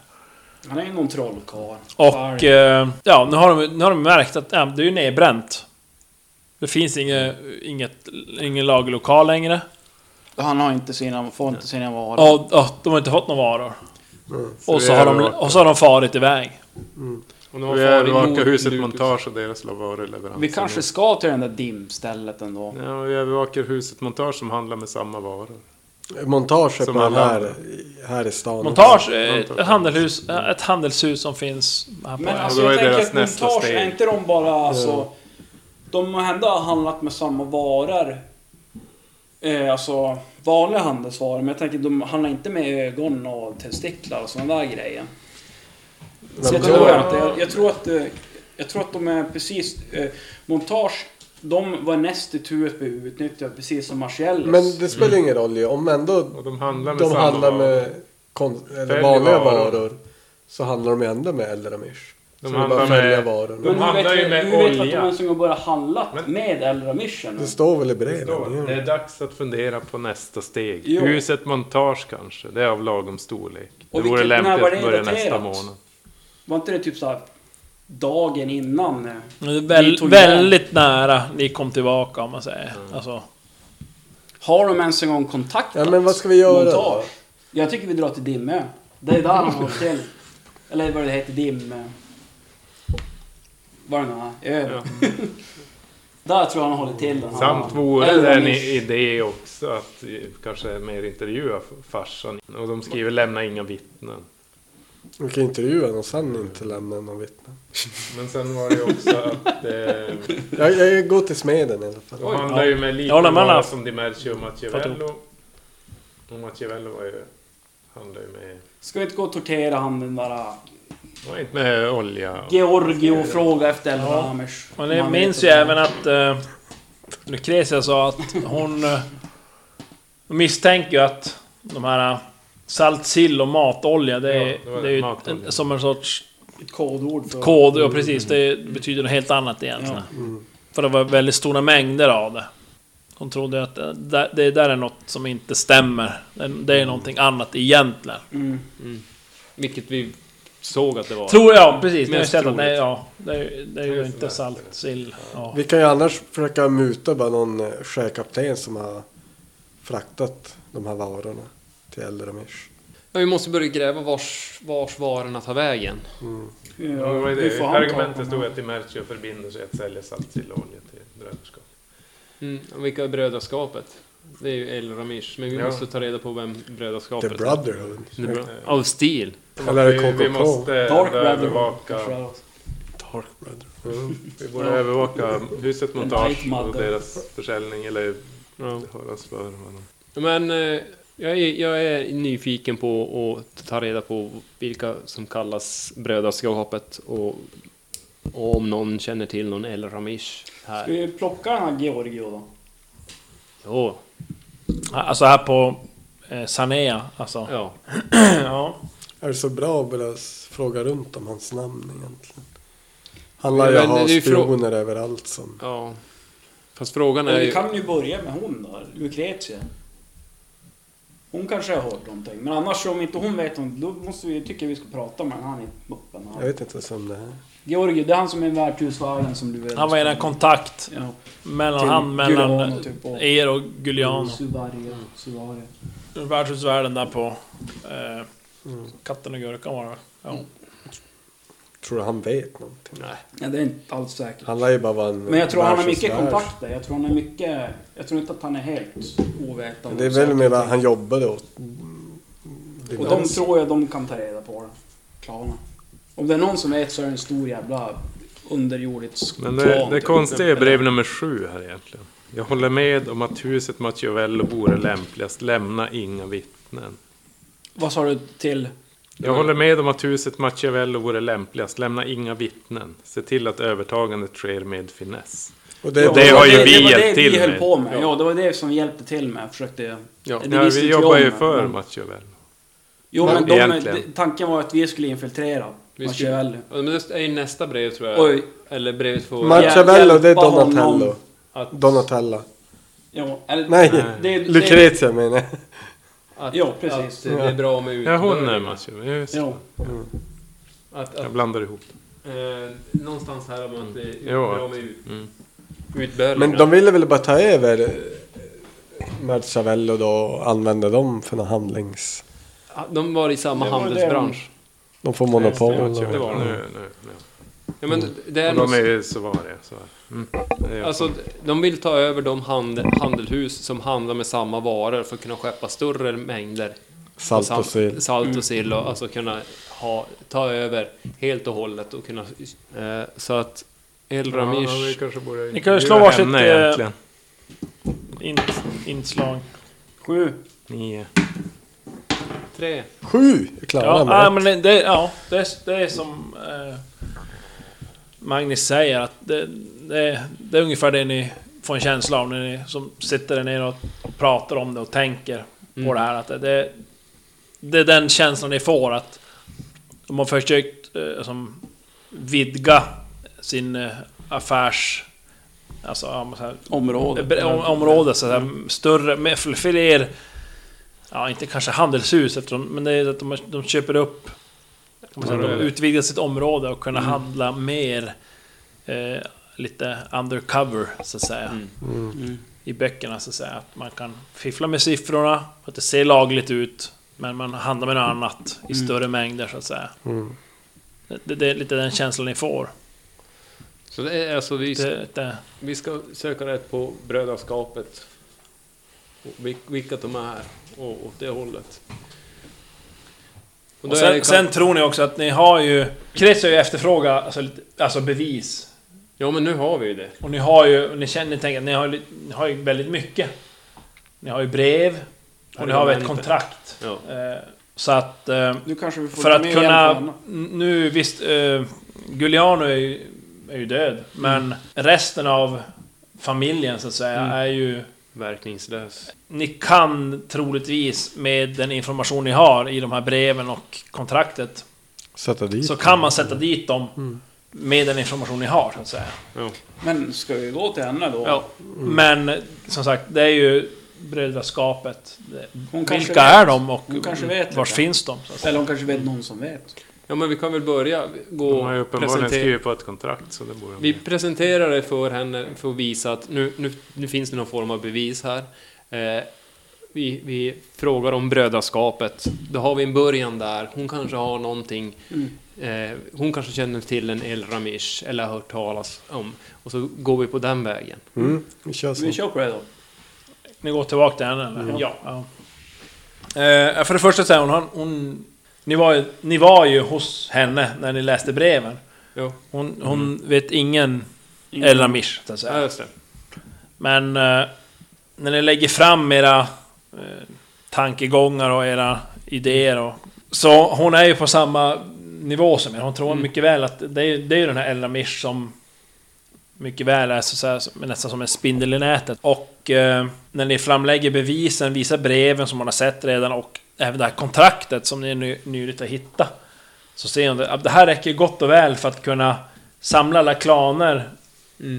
[SPEAKER 6] Han är ju någon trollkarl.
[SPEAKER 2] Och...
[SPEAKER 6] Varg.
[SPEAKER 2] Eh, ja, nu har, de, nu har de märkt att ja, det är ju nedbränt. Det finns inget, inget, ingen lagerlokal längre.
[SPEAKER 6] Han har inte sina, får inte sina varor.
[SPEAKER 2] Och, och de har inte fått några varor. och,
[SPEAKER 5] vi
[SPEAKER 2] så har
[SPEAKER 5] har
[SPEAKER 2] de,
[SPEAKER 5] varit-
[SPEAKER 2] och så har de farit iväg.
[SPEAKER 3] Om de har
[SPEAKER 5] Vi
[SPEAKER 3] farit
[SPEAKER 5] övervakar
[SPEAKER 3] mot
[SPEAKER 5] huset
[SPEAKER 3] Lutus.
[SPEAKER 5] Montage och deras varuleveranser.
[SPEAKER 6] Vi kanske ska till det där dimstället ändå.
[SPEAKER 5] Ja, vi övervakar huset Montage som handlar med samma varor.
[SPEAKER 4] Montage är
[SPEAKER 5] Som
[SPEAKER 4] på den
[SPEAKER 5] alla
[SPEAKER 4] här, här i stan.
[SPEAKER 2] Montage är ett, ett, handelhus, ett handelshus som finns här på
[SPEAKER 6] Men
[SPEAKER 2] ön.
[SPEAKER 6] alltså
[SPEAKER 5] då är
[SPEAKER 6] jag tänker
[SPEAKER 5] deras
[SPEAKER 6] att
[SPEAKER 5] nästa
[SPEAKER 6] montage,
[SPEAKER 5] steg.
[SPEAKER 6] är inte de bara alltså... De har ändå handlat med samma varor. Eh, alltså vanliga handelsvaror. Men jag tänker de handlar inte med ögon och testiklar och sådana där grejer. Så jag
[SPEAKER 4] Men
[SPEAKER 6] tror
[SPEAKER 4] då-
[SPEAKER 6] inte. Jag, jag tror att... eh, Jag tror att de är precis... Eh, montage, de var näst i tur att bli utnyttjade precis som Marcellus.
[SPEAKER 4] Men det spelar ingen roll ju. Om ändå
[SPEAKER 5] Och de handlar med
[SPEAKER 4] de
[SPEAKER 5] samma
[SPEAKER 4] handlar
[SPEAKER 5] varor.
[SPEAKER 4] med kon- eller
[SPEAKER 5] Följer
[SPEAKER 4] vanliga
[SPEAKER 5] varor.
[SPEAKER 4] varor så handlar de ju ändå med Eldramish. De
[SPEAKER 5] De
[SPEAKER 4] så det är bara
[SPEAKER 5] handlar
[SPEAKER 4] att följa
[SPEAKER 5] med-
[SPEAKER 4] varorna.
[SPEAKER 5] de
[SPEAKER 6] Men hur
[SPEAKER 5] handlar
[SPEAKER 6] vet,
[SPEAKER 5] ju
[SPEAKER 6] vi-
[SPEAKER 5] med
[SPEAKER 6] hur vet vi att de
[SPEAKER 5] olja.
[SPEAKER 6] ens en gång börjar handla
[SPEAKER 5] Men-
[SPEAKER 6] med Eldramishen?
[SPEAKER 4] Det står väl i
[SPEAKER 5] Det står,
[SPEAKER 4] breven?
[SPEAKER 5] Det
[SPEAKER 4] ja.
[SPEAKER 5] är dags att fundera på nästa steg.
[SPEAKER 6] Jo.
[SPEAKER 5] Huset Montage kanske. Det är av lagom storlek. Det
[SPEAKER 6] Och
[SPEAKER 5] vore
[SPEAKER 6] vilket-
[SPEAKER 5] lämpligt
[SPEAKER 6] när var det
[SPEAKER 5] att börja
[SPEAKER 6] daterat?
[SPEAKER 5] nästa månad.
[SPEAKER 6] Var inte det typ såhär dagen innan? eh?
[SPEAKER 2] Men det är
[SPEAKER 6] Vi
[SPEAKER 2] väl,
[SPEAKER 6] tog igen.
[SPEAKER 2] väldigt nära ni kom tillbaka om man säger. Alltså,
[SPEAKER 6] Har de ens en gång kontaktat
[SPEAKER 4] Ja, men vad ska vi göra
[SPEAKER 6] montage?
[SPEAKER 4] då?
[SPEAKER 6] Jag tycker vi drar till Dimmö. Det är där de har till. Eller vad det heter, Dimmö. Var det någon här? Ö. där tror jag han håller till. den här.
[SPEAKER 5] Samt vore det
[SPEAKER 6] Ah. Eller
[SPEAKER 5] en
[SPEAKER 6] nisch.
[SPEAKER 5] idé också att eh, kanske mer intervjua f- farsan. Och de skriver lämna inga vittnen.
[SPEAKER 4] Vi kan intervjua dem och sen inte lämna någon vittne.
[SPEAKER 5] Men sen var det ju också att eh,
[SPEAKER 4] Jag, jag går till smeden i alla fall.
[SPEAKER 5] de handlar ju med lika
[SPEAKER 2] Jag håller med alla.
[SPEAKER 5] många som Di Merci och Machiavello. Och Machiavello var ju Handlar ju med...
[SPEAKER 6] Ska vi inte gå och tortera han den där äh,
[SPEAKER 5] Var inte med olja och...
[SPEAKER 6] Georgio och fråga efter Elva
[SPEAKER 2] Ja.
[SPEAKER 6] Amers?
[SPEAKER 2] Man
[SPEAKER 6] Om han
[SPEAKER 2] minns
[SPEAKER 6] vet
[SPEAKER 2] ju
[SPEAKER 6] att-
[SPEAKER 2] även att eh, Lucretia sa att hon eh, misstänker ju att de här eh, salt, sill och matolja, det är,
[SPEAKER 5] Ja, det var
[SPEAKER 2] det är ju
[SPEAKER 5] matolja.
[SPEAKER 2] en, som en sorts
[SPEAKER 6] Ett kodord för...
[SPEAKER 2] kod. Ja, precis. Det betyder något helt annat egentligen. För det var väldigt stora mängder av det. Hon trodde att eh, där- det där är något som inte stämmer. Det- Det är någonting annat egentligen.
[SPEAKER 6] Mm.
[SPEAKER 3] Vilket vi såg att det var.
[SPEAKER 2] Tror jag, precis. Ni har ju
[SPEAKER 3] Mest
[SPEAKER 2] sett att
[SPEAKER 3] troligt.
[SPEAKER 2] nej, ja, det är, ju- det är ju inte salt, sill. Ja.
[SPEAKER 4] Vi kan ju annars försöka muta bara någon eh, sjökapten som har fraktat de här varorna till Eldramish.
[SPEAKER 3] Ja, vi måste börja gräva vars, vars varorna tar vägen.
[SPEAKER 5] Ja, vad är
[SPEAKER 6] hur
[SPEAKER 5] det?
[SPEAKER 6] får han
[SPEAKER 5] Argumentet
[SPEAKER 6] tag på
[SPEAKER 5] stod
[SPEAKER 6] honom?
[SPEAKER 5] att Dimercio förbinder sig att sälja salt, sill och olja till bröderskap.
[SPEAKER 3] Mm, och vilka är brödraskapet? Det är ju El Ramish, men vi
[SPEAKER 5] Ja.
[SPEAKER 3] måste ta reda på vem
[SPEAKER 4] The
[SPEAKER 3] brödraskapet är.
[SPEAKER 4] Brotherhood.
[SPEAKER 3] The Bro- Av stil.
[SPEAKER 4] Eller
[SPEAKER 5] Vi- Vi
[SPEAKER 4] KKK.
[SPEAKER 5] måste
[SPEAKER 6] Dark
[SPEAKER 5] börja
[SPEAKER 6] Brotherhood.
[SPEAKER 5] övervaka... Mm,
[SPEAKER 4] Dark Brotherhood.
[SPEAKER 5] Vi borde övervaka huset
[SPEAKER 6] Night
[SPEAKER 5] montage
[SPEAKER 6] Mother.
[SPEAKER 5] och deras försäljning eller alltså
[SPEAKER 3] Ja.
[SPEAKER 5] höras för. vad de-
[SPEAKER 3] Men eh, jag är, jag är nyfiken på att ta reda på vilka som kallas brödraskapet och, och om någon känner till någon El Ramish
[SPEAKER 6] Ska
[SPEAKER 3] här.
[SPEAKER 6] vi plocka den här Georgio då?
[SPEAKER 3] Jo,
[SPEAKER 2] Alltså här på eh, Sanea, alltså.
[SPEAKER 3] ja.
[SPEAKER 2] Ja.
[SPEAKER 4] Är det så bra att börja s- fråga runt om hans namn egentligen? Han
[SPEAKER 3] Ja,
[SPEAKER 4] lär ju
[SPEAKER 3] men
[SPEAKER 4] ha
[SPEAKER 3] det är ju frå-
[SPEAKER 4] spioner överallt som...
[SPEAKER 3] ja. Fast frågan
[SPEAKER 6] Eller
[SPEAKER 3] är
[SPEAKER 6] vi
[SPEAKER 3] ju...
[SPEAKER 6] kan ju börja med hon då, Lucretia. Hon kanske har hört någonting, men annars om inte hon vet något, då måste vi, tycker jag vi ska prata med han i muppen.
[SPEAKER 4] Jag vet inte ens om det är.
[SPEAKER 6] Georgio, det är han som är värdshusvärden som du vet.
[SPEAKER 2] Han var en kontakt
[SPEAKER 6] Ja.
[SPEAKER 2] mellan
[SPEAKER 6] Till
[SPEAKER 2] han mellan
[SPEAKER 6] Giuliano, typ, och-
[SPEAKER 2] er och Giuliano.
[SPEAKER 6] Suvaria, Suvaria.
[SPEAKER 2] Värdshusvärden där på... Eh, katten och gurkan var det ja.
[SPEAKER 4] Tror du han vet någonting?
[SPEAKER 6] Ja, det är inte alls säkert.
[SPEAKER 4] Han lär ju bara vara en...
[SPEAKER 6] Men jag tror han har mycket
[SPEAKER 4] världsutställare.
[SPEAKER 6] kontakter. Jag tror han har mycket... Jag tror inte att han är helt ovetande.
[SPEAKER 4] Det är
[SPEAKER 6] om
[SPEAKER 4] väl
[SPEAKER 6] saker.
[SPEAKER 4] mer att han jobbade åt...
[SPEAKER 6] Och de tror jag de kan ta reda på det. Klanerna. Om det är någon som vet så är det en stor jävla underjordisk
[SPEAKER 5] Men det,
[SPEAKER 6] klan,
[SPEAKER 5] det
[SPEAKER 6] typ.
[SPEAKER 5] konstiga är brev nummer sju här egentligen. Jag håller med om att huset Machiavello vore lämpligast. Lämna inga vittnen.
[SPEAKER 6] Vad sa du till?
[SPEAKER 5] Jag håller med om att huset Machiavello vore lämpligast. Lämna inga vittnen. Se till att övertagandet sker med finess.
[SPEAKER 4] Och det,
[SPEAKER 5] Ja,
[SPEAKER 4] är
[SPEAKER 5] det
[SPEAKER 4] bara-
[SPEAKER 5] har ju
[SPEAKER 6] det,
[SPEAKER 5] vi
[SPEAKER 6] det var
[SPEAKER 5] hjälpt
[SPEAKER 6] det
[SPEAKER 5] till
[SPEAKER 6] vi höll
[SPEAKER 5] med.
[SPEAKER 6] på med. Ja. det var det som hjälpte till med. Jag Försökte...
[SPEAKER 3] Ja.
[SPEAKER 6] det
[SPEAKER 5] Ja,
[SPEAKER 6] visste
[SPEAKER 5] vi
[SPEAKER 6] inte jag
[SPEAKER 5] jobbar ju
[SPEAKER 6] om,
[SPEAKER 5] för
[SPEAKER 6] men-
[SPEAKER 5] Machiavello.
[SPEAKER 6] Jo,
[SPEAKER 5] Ja,
[SPEAKER 6] men de,
[SPEAKER 5] egentligen.
[SPEAKER 6] tanken var att vi skulle infiltrera.
[SPEAKER 3] Vi skulle-
[SPEAKER 6] Machiavelli.
[SPEAKER 3] Ja, Men det är ju nästa brev tror jag.
[SPEAKER 6] Oj.
[SPEAKER 3] Eller brevet på...
[SPEAKER 6] Ma-
[SPEAKER 4] Machiavello, det är
[SPEAKER 6] hjälpa
[SPEAKER 4] Donatello.
[SPEAKER 6] honom
[SPEAKER 3] att,
[SPEAKER 4] Donatella.
[SPEAKER 6] Ja, eller,
[SPEAKER 4] Nej,
[SPEAKER 6] det- det-
[SPEAKER 4] Lucrezia menar jag.
[SPEAKER 3] att,
[SPEAKER 6] Ja, precis.
[SPEAKER 3] Att det är bra med
[SPEAKER 5] Ja, hon är
[SPEAKER 3] utbörjning.
[SPEAKER 5] Machiavello. Just.
[SPEAKER 6] Jo.
[SPEAKER 3] Att, att,
[SPEAKER 5] Jag blandar ihop.
[SPEAKER 3] eh, någonstans här om att det är
[SPEAKER 5] Ja.
[SPEAKER 3] bra med ut,
[SPEAKER 5] Mm.
[SPEAKER 3] utbörjning.
[SPEAKER 4] Men de ville väl bara ta över eh, Machiavello då och använda dem för några handlings...
[SPEAKER 3] Ja, De var i samma
[SPEAKER 6] Det var det
[SPEAKER 3] handelsbransch.
[SPEAKER 4] De får monopol.
[SPEAKER 5] Machiavello.
[SPEAKER 3] var det.
[SPEAKER 5] Nu, nu, nu.
[SPEAKER 3] Ja, men det är
[SPEAKER 5] Och de
[SPEAKER 3] något-
[SPEAKER 5] är ju sovarier. Så. Mm. Det är-
[SPEAKER 3] Alltså, de vill ta över de handel, handelhus som handlar med samma varor för att kunna skeppa större mängder.
[SPEAKER 4] Salt
[SPEAKER 3] sam-
[SPEAKER 4] och sill.
[SPEAKER 6] Mm.
[SPEAKER 3] Salt och sill och alltså kunna ha, ta över helt och hållet och kunna... Eh, så att El
[SPEAKER 5] Ja, vi
[SPEAKER 3] Ramish...
[SPEAKER 5] kanske borde
[SPEAKER 2] Ni kan ju slå
[SPEAKER 5] intervjua
[SPEAKER 2] varsitt,
[SPEAKER 5] henne
[SPEAKER 2] eh,
[SPEAKER 5] egentligen.
[SPEAKER 2] In, inslag.
[SPEAKER 6] Sju.
[SPEAKER 5] Nio.
[SPEAKER 3] Tre.
[SPEAKER 4] Sju! Jag klarar
[SPEAKER 2] Ja,
[SPEAKER 4] mig.
[SPEAKER 2] ja men det- det, ja, det, är- det är som... Eh, Magnus säger att det, det, det är ungefär det ni får en känsla av när ni som sitter där nere och, och pratar om det och tänker på det här. Att det, det, det är den känslan ni får att de har försökt eh, som, vidga sin eh, affärs... Alltså, ja, men så här,
[SPEAKER 6] Område.
[SPEAKER 2] Bre- om- område, så här, större, med fl- fler... Ja, inte kanske handelshus eftersom, men det är att de, de köper upp... kan man säga,
[SPEAKER 5] Ja, det Mm. är
[SPEAKER 2] De
[SPEAKER 5] det.
[SPEAKER 2] utvidgar sitt område och kunna handla mer... Eh, lite undercover, så att säga.
[SPEAKER 5] Mm.
[SPEAKER 2] I böckerna, så att säga. Att man kan fiffla med siffrorna, att det ser lagligt ut. Men man handlar med något annat i
[SPEAKER 5] Mm.
[SPEAKER 2] större mängder, så att säga. Det, det är lite den känslan ni får.
[SPEAKER 3] Så det är, alltså, vi,
[SPEAKER 2] Det, det,
[SPEAKER 3] vi ska söka rätt på brödraskapet. Och vil- Vilka de är och åt det hållet.
[SPEAKER 2] Och
[SPEAKER 3] då är
[SPEAKER 2] sen,
[SPEAKER 3] det kan-
[SPEAKER 2] sen tror ni också att ni har ju... Krets har ju efterfrågat alltså, lite- alltså bevis.
[SPEAKER 3] Ja, men nu har vi ju det.
[SPEAKER 2] Och ni har ju... och Ni känner, ni tänker att ni har, li- ni har ju väldigt mycket. Ni har ju brev. Och ni har väl ett kontrakt.
[SPEAKER 3] Ja.
[SPEAKER 2] Eh, Så att... eh,
[SPEAKER 6] Nu kanske vi får
[SPEAKER 2] För
[SPEAKER 6] ta
[SPEAKER 2] att
[SPEAKER 6] med hjälp av
[SPEAKER 2] kunna...
[SPEAKER 6] Anna.
[SPEAKER 2] Nu visst, eh, Giuliano är ju, är ju död. Men resten av familjen så att säga är ju...
[SPEAKER 3] Verkningslös.
[SPEAKER 2] Ni kan troligtvis med den information ni har i de här breven och kontraktet
[SPEAKER 4] Sätta dit.
[SPEAKER 2] så kan man sätta dit dem med den information ni har så att säga.
[SPEAKER 6] Men ska vi gå till henne då?
[SPEAKER 2] Ja. Men som sagt, det är ju brödraskapet. Det-
[SPEAKER 6] Hon kanske
[SPEAKER 2] Vilka
[SPEAKER 6] vet.
[SPEAKER 2] är de och
[SPEAKER 6] Hon kanske vet
[SPEAKER 2] vars
[SPEAKER 6] lite.
[SPEAKER 2] finns de? Så att säga.
[SPEAKER 6] Eller hon kanske vet någon som vet.
[SPEAKER 3] Ja, men vi kan väl börja gå
[SPEAKER 5] De har ju uppenbarligen
[SPEAKER 3] presentera-
[SPEAKER 5] skrivit på ett kontrakt så det borde
[SPEAKER 3] Vi
[SPEAKER 5] de
[SPEAKER 3] presenterar det för henne för att visa att nu, nu, nu finns det någon form av bevis här. Eh, vi, vi frågar om brödraskapet. Då har vi en början där. Hon kanske har någonting.
[SPEAKER 2] Mm.
[SPEAKER 3] Eh, hon kanske känner till en El Ramish eller har hört talas om. Och så går vi på den vägen.
[SPEAKER 4] Mm, vi kör så.
[SPEAKER 6] Vi kör på det då.
[SPEAKER 2] Ni går tillbaka till henne? Eller?
[SPEAKER 6] Mm.
[SPEAKER 2] Ja. Eh, för det första så här, hon, har- hon ni, var ju, ni var ju hos henne när ni läste breven.
[SPEAKER 3] Jo.
[SPEAKER 2] Hon, hon vet ingen El Ramish, så att säga.
[SPEAKER 3] Ja, just det.
[SPEAKER 2] Men eh, när ni lägger fram era eh, tankegångar och era idéer och... Så hon är ju på samma nivå som er. Hon tror mycket väl att det är, det är ju den här Ella Mish som mycket väl är så, så här, som- nästan som en spindel i nätet. Och eh, när ni framlägger bevisen, visar breven som hon har sett redan och även det här kontraktet som ni ny, nyligt har hittat. Så ser hon det, att det här räcker ju gott och väl för att kunna samla alla klaner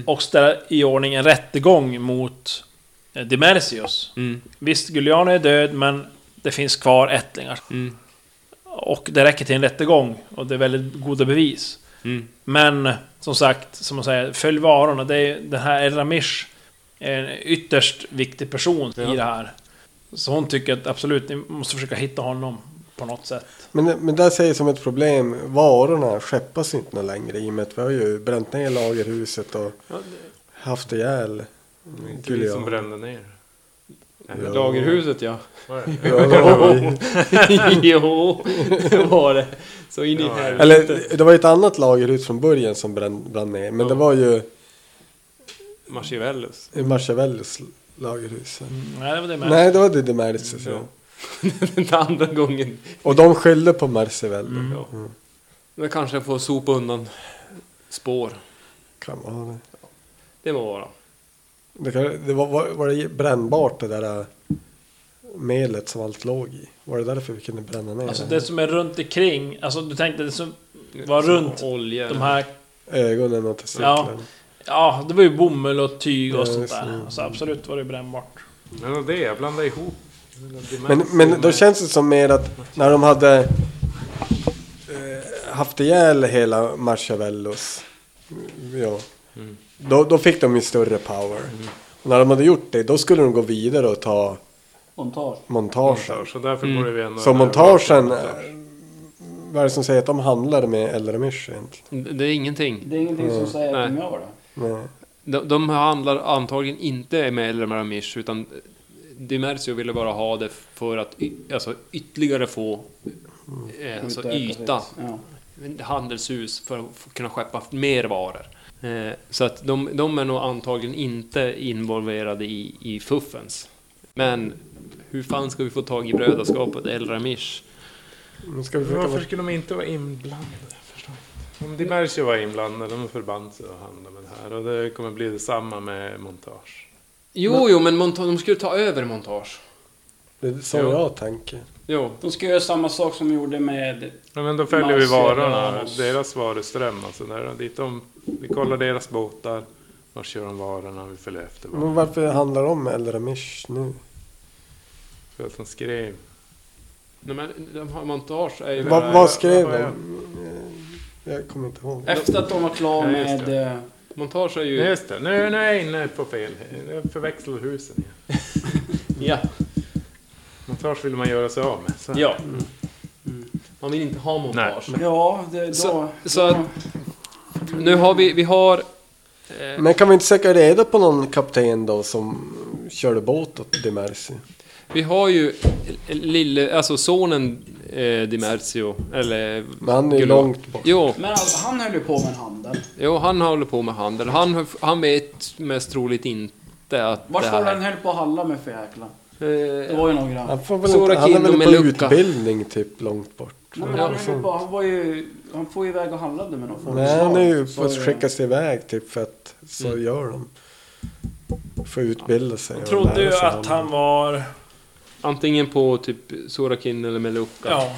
[SPEAKER 2] och ställa i ordning en rättegång mot eh, Demersius.
[SPEAKER 3] Mm.
[SPEAKER 2] Visst, Giuliano är död, men det finns kvar ättlingar.
[SPEAKER 3] Mm.
[SPEAKER 2] Och det räcker till en rättegång, och det är väldigt goda bevis.
[SPEAKER 3] Mm.
[SPEAKER 2] Men som sagt, som man säger, följ varorna. Det är, den här El Ramish är en ytterst viktig person i det här. Så hon tycker att absolut, ni måste försöka hitta honom på något sätt.
[SPEAKER 4] Men, men där ser jag som ett problem. Varorna skeppas inte något längre i och med att vi har ju bränt ner lagerhuset och haft ihjäl
[SPEAKER 5] inte vi som brände ner.
[SPEAKER 4] Ja.
[SPEAKER 3] Lagerhuset ja.
[SPEAKER 4] Ja, det var vi.
[SPEAKER 3] jo, det var det. Så in i
[SPEAKER 5] Ja,
[SPEAKER 3] helvete.
[SPEAKER 4] Eller det var ju ett annat lagerhus från början som brann, brann ner. Men det var ju
[SPEAKER 5] Machiavellus.
[SPEAKER 4] Machiavellus lagerhus.
[SPEAKER 5] Mm.
[SPEAKER 2] Nej, det var det med.
[SPEAKER 4] Nej, det var det Demersius. Ja.
[SPEAKER 3] Den andra gången.
[SPEAKER 4] Och de skyllde på Machiavelli.
[SPEAKER 5] Mm.
[SPEAKER 3] Ja. Men kanske få sopa undan spår.
[SPEAKER 4] Kan vara det.
[SPEAKER 3] Det må vara.
[SPEAKER 4] Det, kan, det var, var, var det brännbart det där äh, melet som allt låg i? Var det därför vi kunde bränna ner
[SPEAKER 2] Alltså
[SPEAKER 4] det?
[SPEAKER 2] det som är runt omkring, alltså du tänkte det som var
[SPEAKER 3] Som
[SPEAKER 2] runt
[SPEAKER 3] Olja.
[SPEAKER 2] de här
[SPEAKER 4] ögonen och testiklarna?
[SPEAKER 2] Ja. Ja, det var ju bomull och tyg och
[SPEAKER 4] Typ, Ja,
[SPEAKER 2] sånt
[SPEAKER 4] just det.
[SPEAKER 2] där. Så absolut var det brännbart.
[SPEAKER 5] Men det var det, jag blandade ihop.
[SPEAKER 4] Men, men då känns det som mer att när de hade eh, haft ihjäl hela Machiavellus. Ja.
[SPEAKER 5] Mm.
[SPEAKER 4] Då, då fick de ju större power. Och när de hade gjort det, då skulle de gå vidare och ta
[SPEAKER 6] Montage.
[SPEAKER 4] montagen.
[SPEAKER 5] Så därför borde vi ändå...
[SPEAKER 4] Så montagen, eh, vad är det som säger att de handlar med El Ramish egentligen?
[SPEAKER 3] Det är ingenting.
[SPEAKER 6] Det är ingenting som säger att de
[SPEAKER 3] Nej.
[SPEAKER 6] gör det.
[SPEAKER 4] Nej.
[SPEAKER 3] De, de handlar antagligen inte med El Maramish utan Dimersio ville bara ha det för att y, alltså, ytterligare få eh, alltså,
[SPEAKER 6] Utöka sitt.
[SPEAKER 3] yta.
[SPEAKER 6] Mm. Ja.
[SPEAKER 3] Handelshus för att få- kunna skeppa mer varor. Eh, så att de, de är nog antagligen inte involverade i, i fuffens. Men hur fan ska vi få tag i brödraskapet El Ramish?
[SPEAKER 4] Nu ska vi försöka
[SPEAKER 5] Varför
[SPEAKER 4] vara...
[SPEAKER 5] skulle de inte vara inblandade? Jag förstår inte. Om Dimercio var inblandad, de förband sig att handla med det här. Och det kommer bli detsamma med montage.
[SPEAKER 3] Jo, jo, men monta- de skulle ta över montage.
[SPEAKER 4] Det är så jag tänker.
[SPEAKER 3] Jo,
[SPEAKER 6] De ska göra samma sak som de gjorde med...
[SPEAKER 5] Ja, men då följer vi
[SPEAKER 6] Maus,
[SPEAKER 5] varorna,
[SPEAKER 6] Maus.
[SPEAKER 5] deras varuström. Alltså där, dit de, vi kollar deras båtar, var kör de varorna, vi följer efter varorna.
[SPEAKER 4] Men varför handlar de med El Ramish nu?
[SPEAKER 5] För att de skrev.
[SPEAKER 3] Nej, men de har montage är ju...
[SPEAKER 4] Vad
[SPEAKER 5] jag-
[SPEAKER 4] vad skrev
[SPEAKER 5] vad har
[SPEAKER 4] de?
[SPEAKER 5] jag?
[SPEAKER 4] Jag kommer inte ihåg.
[SPEAKER 6] Efter att de var klara
[SPEAKER 5] Ja, just
[SPEAKER 6] med...
[SPEAKER 5] det.
[SPEAKER 6] eh,
[SPEAKER 3] Montage är ju...
[SPEAKER 5] Nej, just det, nu, nu är jag inne på fel. Jag förväxlar husen igen.
[SPEAKER 3] Ja.
[SPEAKER 5] Montage vill man göra sig av med. Så.
[SPEAKER 3] ja. Mm. Man vill inte ha montage.
[SPEAKER 6] Ja, det, då...
[SPEAKER 3] Så-
[SPEAKER 6] då
[SPEAKER 3] så att- Nu har vi... Vi har...
[SPEAKER 4] Men kan vi inte söka reda på någon kapten då som körde båt åt Demersi?
[SPEAKER 3] Vi har ju lille... Alltså sonen eh, Dimersio. Eller...
[SPEAKER 4] Men han är ju
[SPEAKER 3] Gud,
[SPEAKER 4] långt bort.
[SPEAKER 3] Jo,
[SPEAKER 6] men alltså, han höll ju på med en handel.
[SPEAKER 3] jo, han håller på med handel. Han, han vet mest troligt inte att
[SPEAKER 6] Vart
[SPEAKER 3] det
[SPEAKER 6] var
[SPEAKER 3] här... Eh,
[SPEAKER 6] den höll på att handla med för jäkla? Det var ju några.
[SPEAKER 4] Han, får väl
[SPEAKER 3] Stora
[SPEAKER 4] inte, han är
[SPEAKER 3] Kindom
[SPEAKER 4] väl
[SPEAKER 3] med
[SPEAKER 4] på
[SPEAKER 3] lucka.
[SPEAKER 4] utbildning typ långt bort.
[SPEAKER 6] Nej, men
[SPEAKER 3] Ja,
[SPEAKER 6] han, är ju på, han, var ju, han får ju iväg och handlade med någon form av
[SPEAKER 4] Nej, han är ju
[SPEAKER 6] slag,
[SPEAKER 4] på att
[SPEAKER 6] så-
[SPEAKER 4] skickas iväg typ för att så gör de. Får utbilda sig.
[SPEAKER 2] Jag
[SPEAKER 4] och
[SPEAKER 2] trodde
[SPEAKER 4] lära
[SPEAKER 2] ju
[SPEAKER 4] sig
[SPEAKER 2] att han var...
[SPEAKER 3] Antingen på typ Sorakin eller Meluka.
[SPEAKER 2] Ja,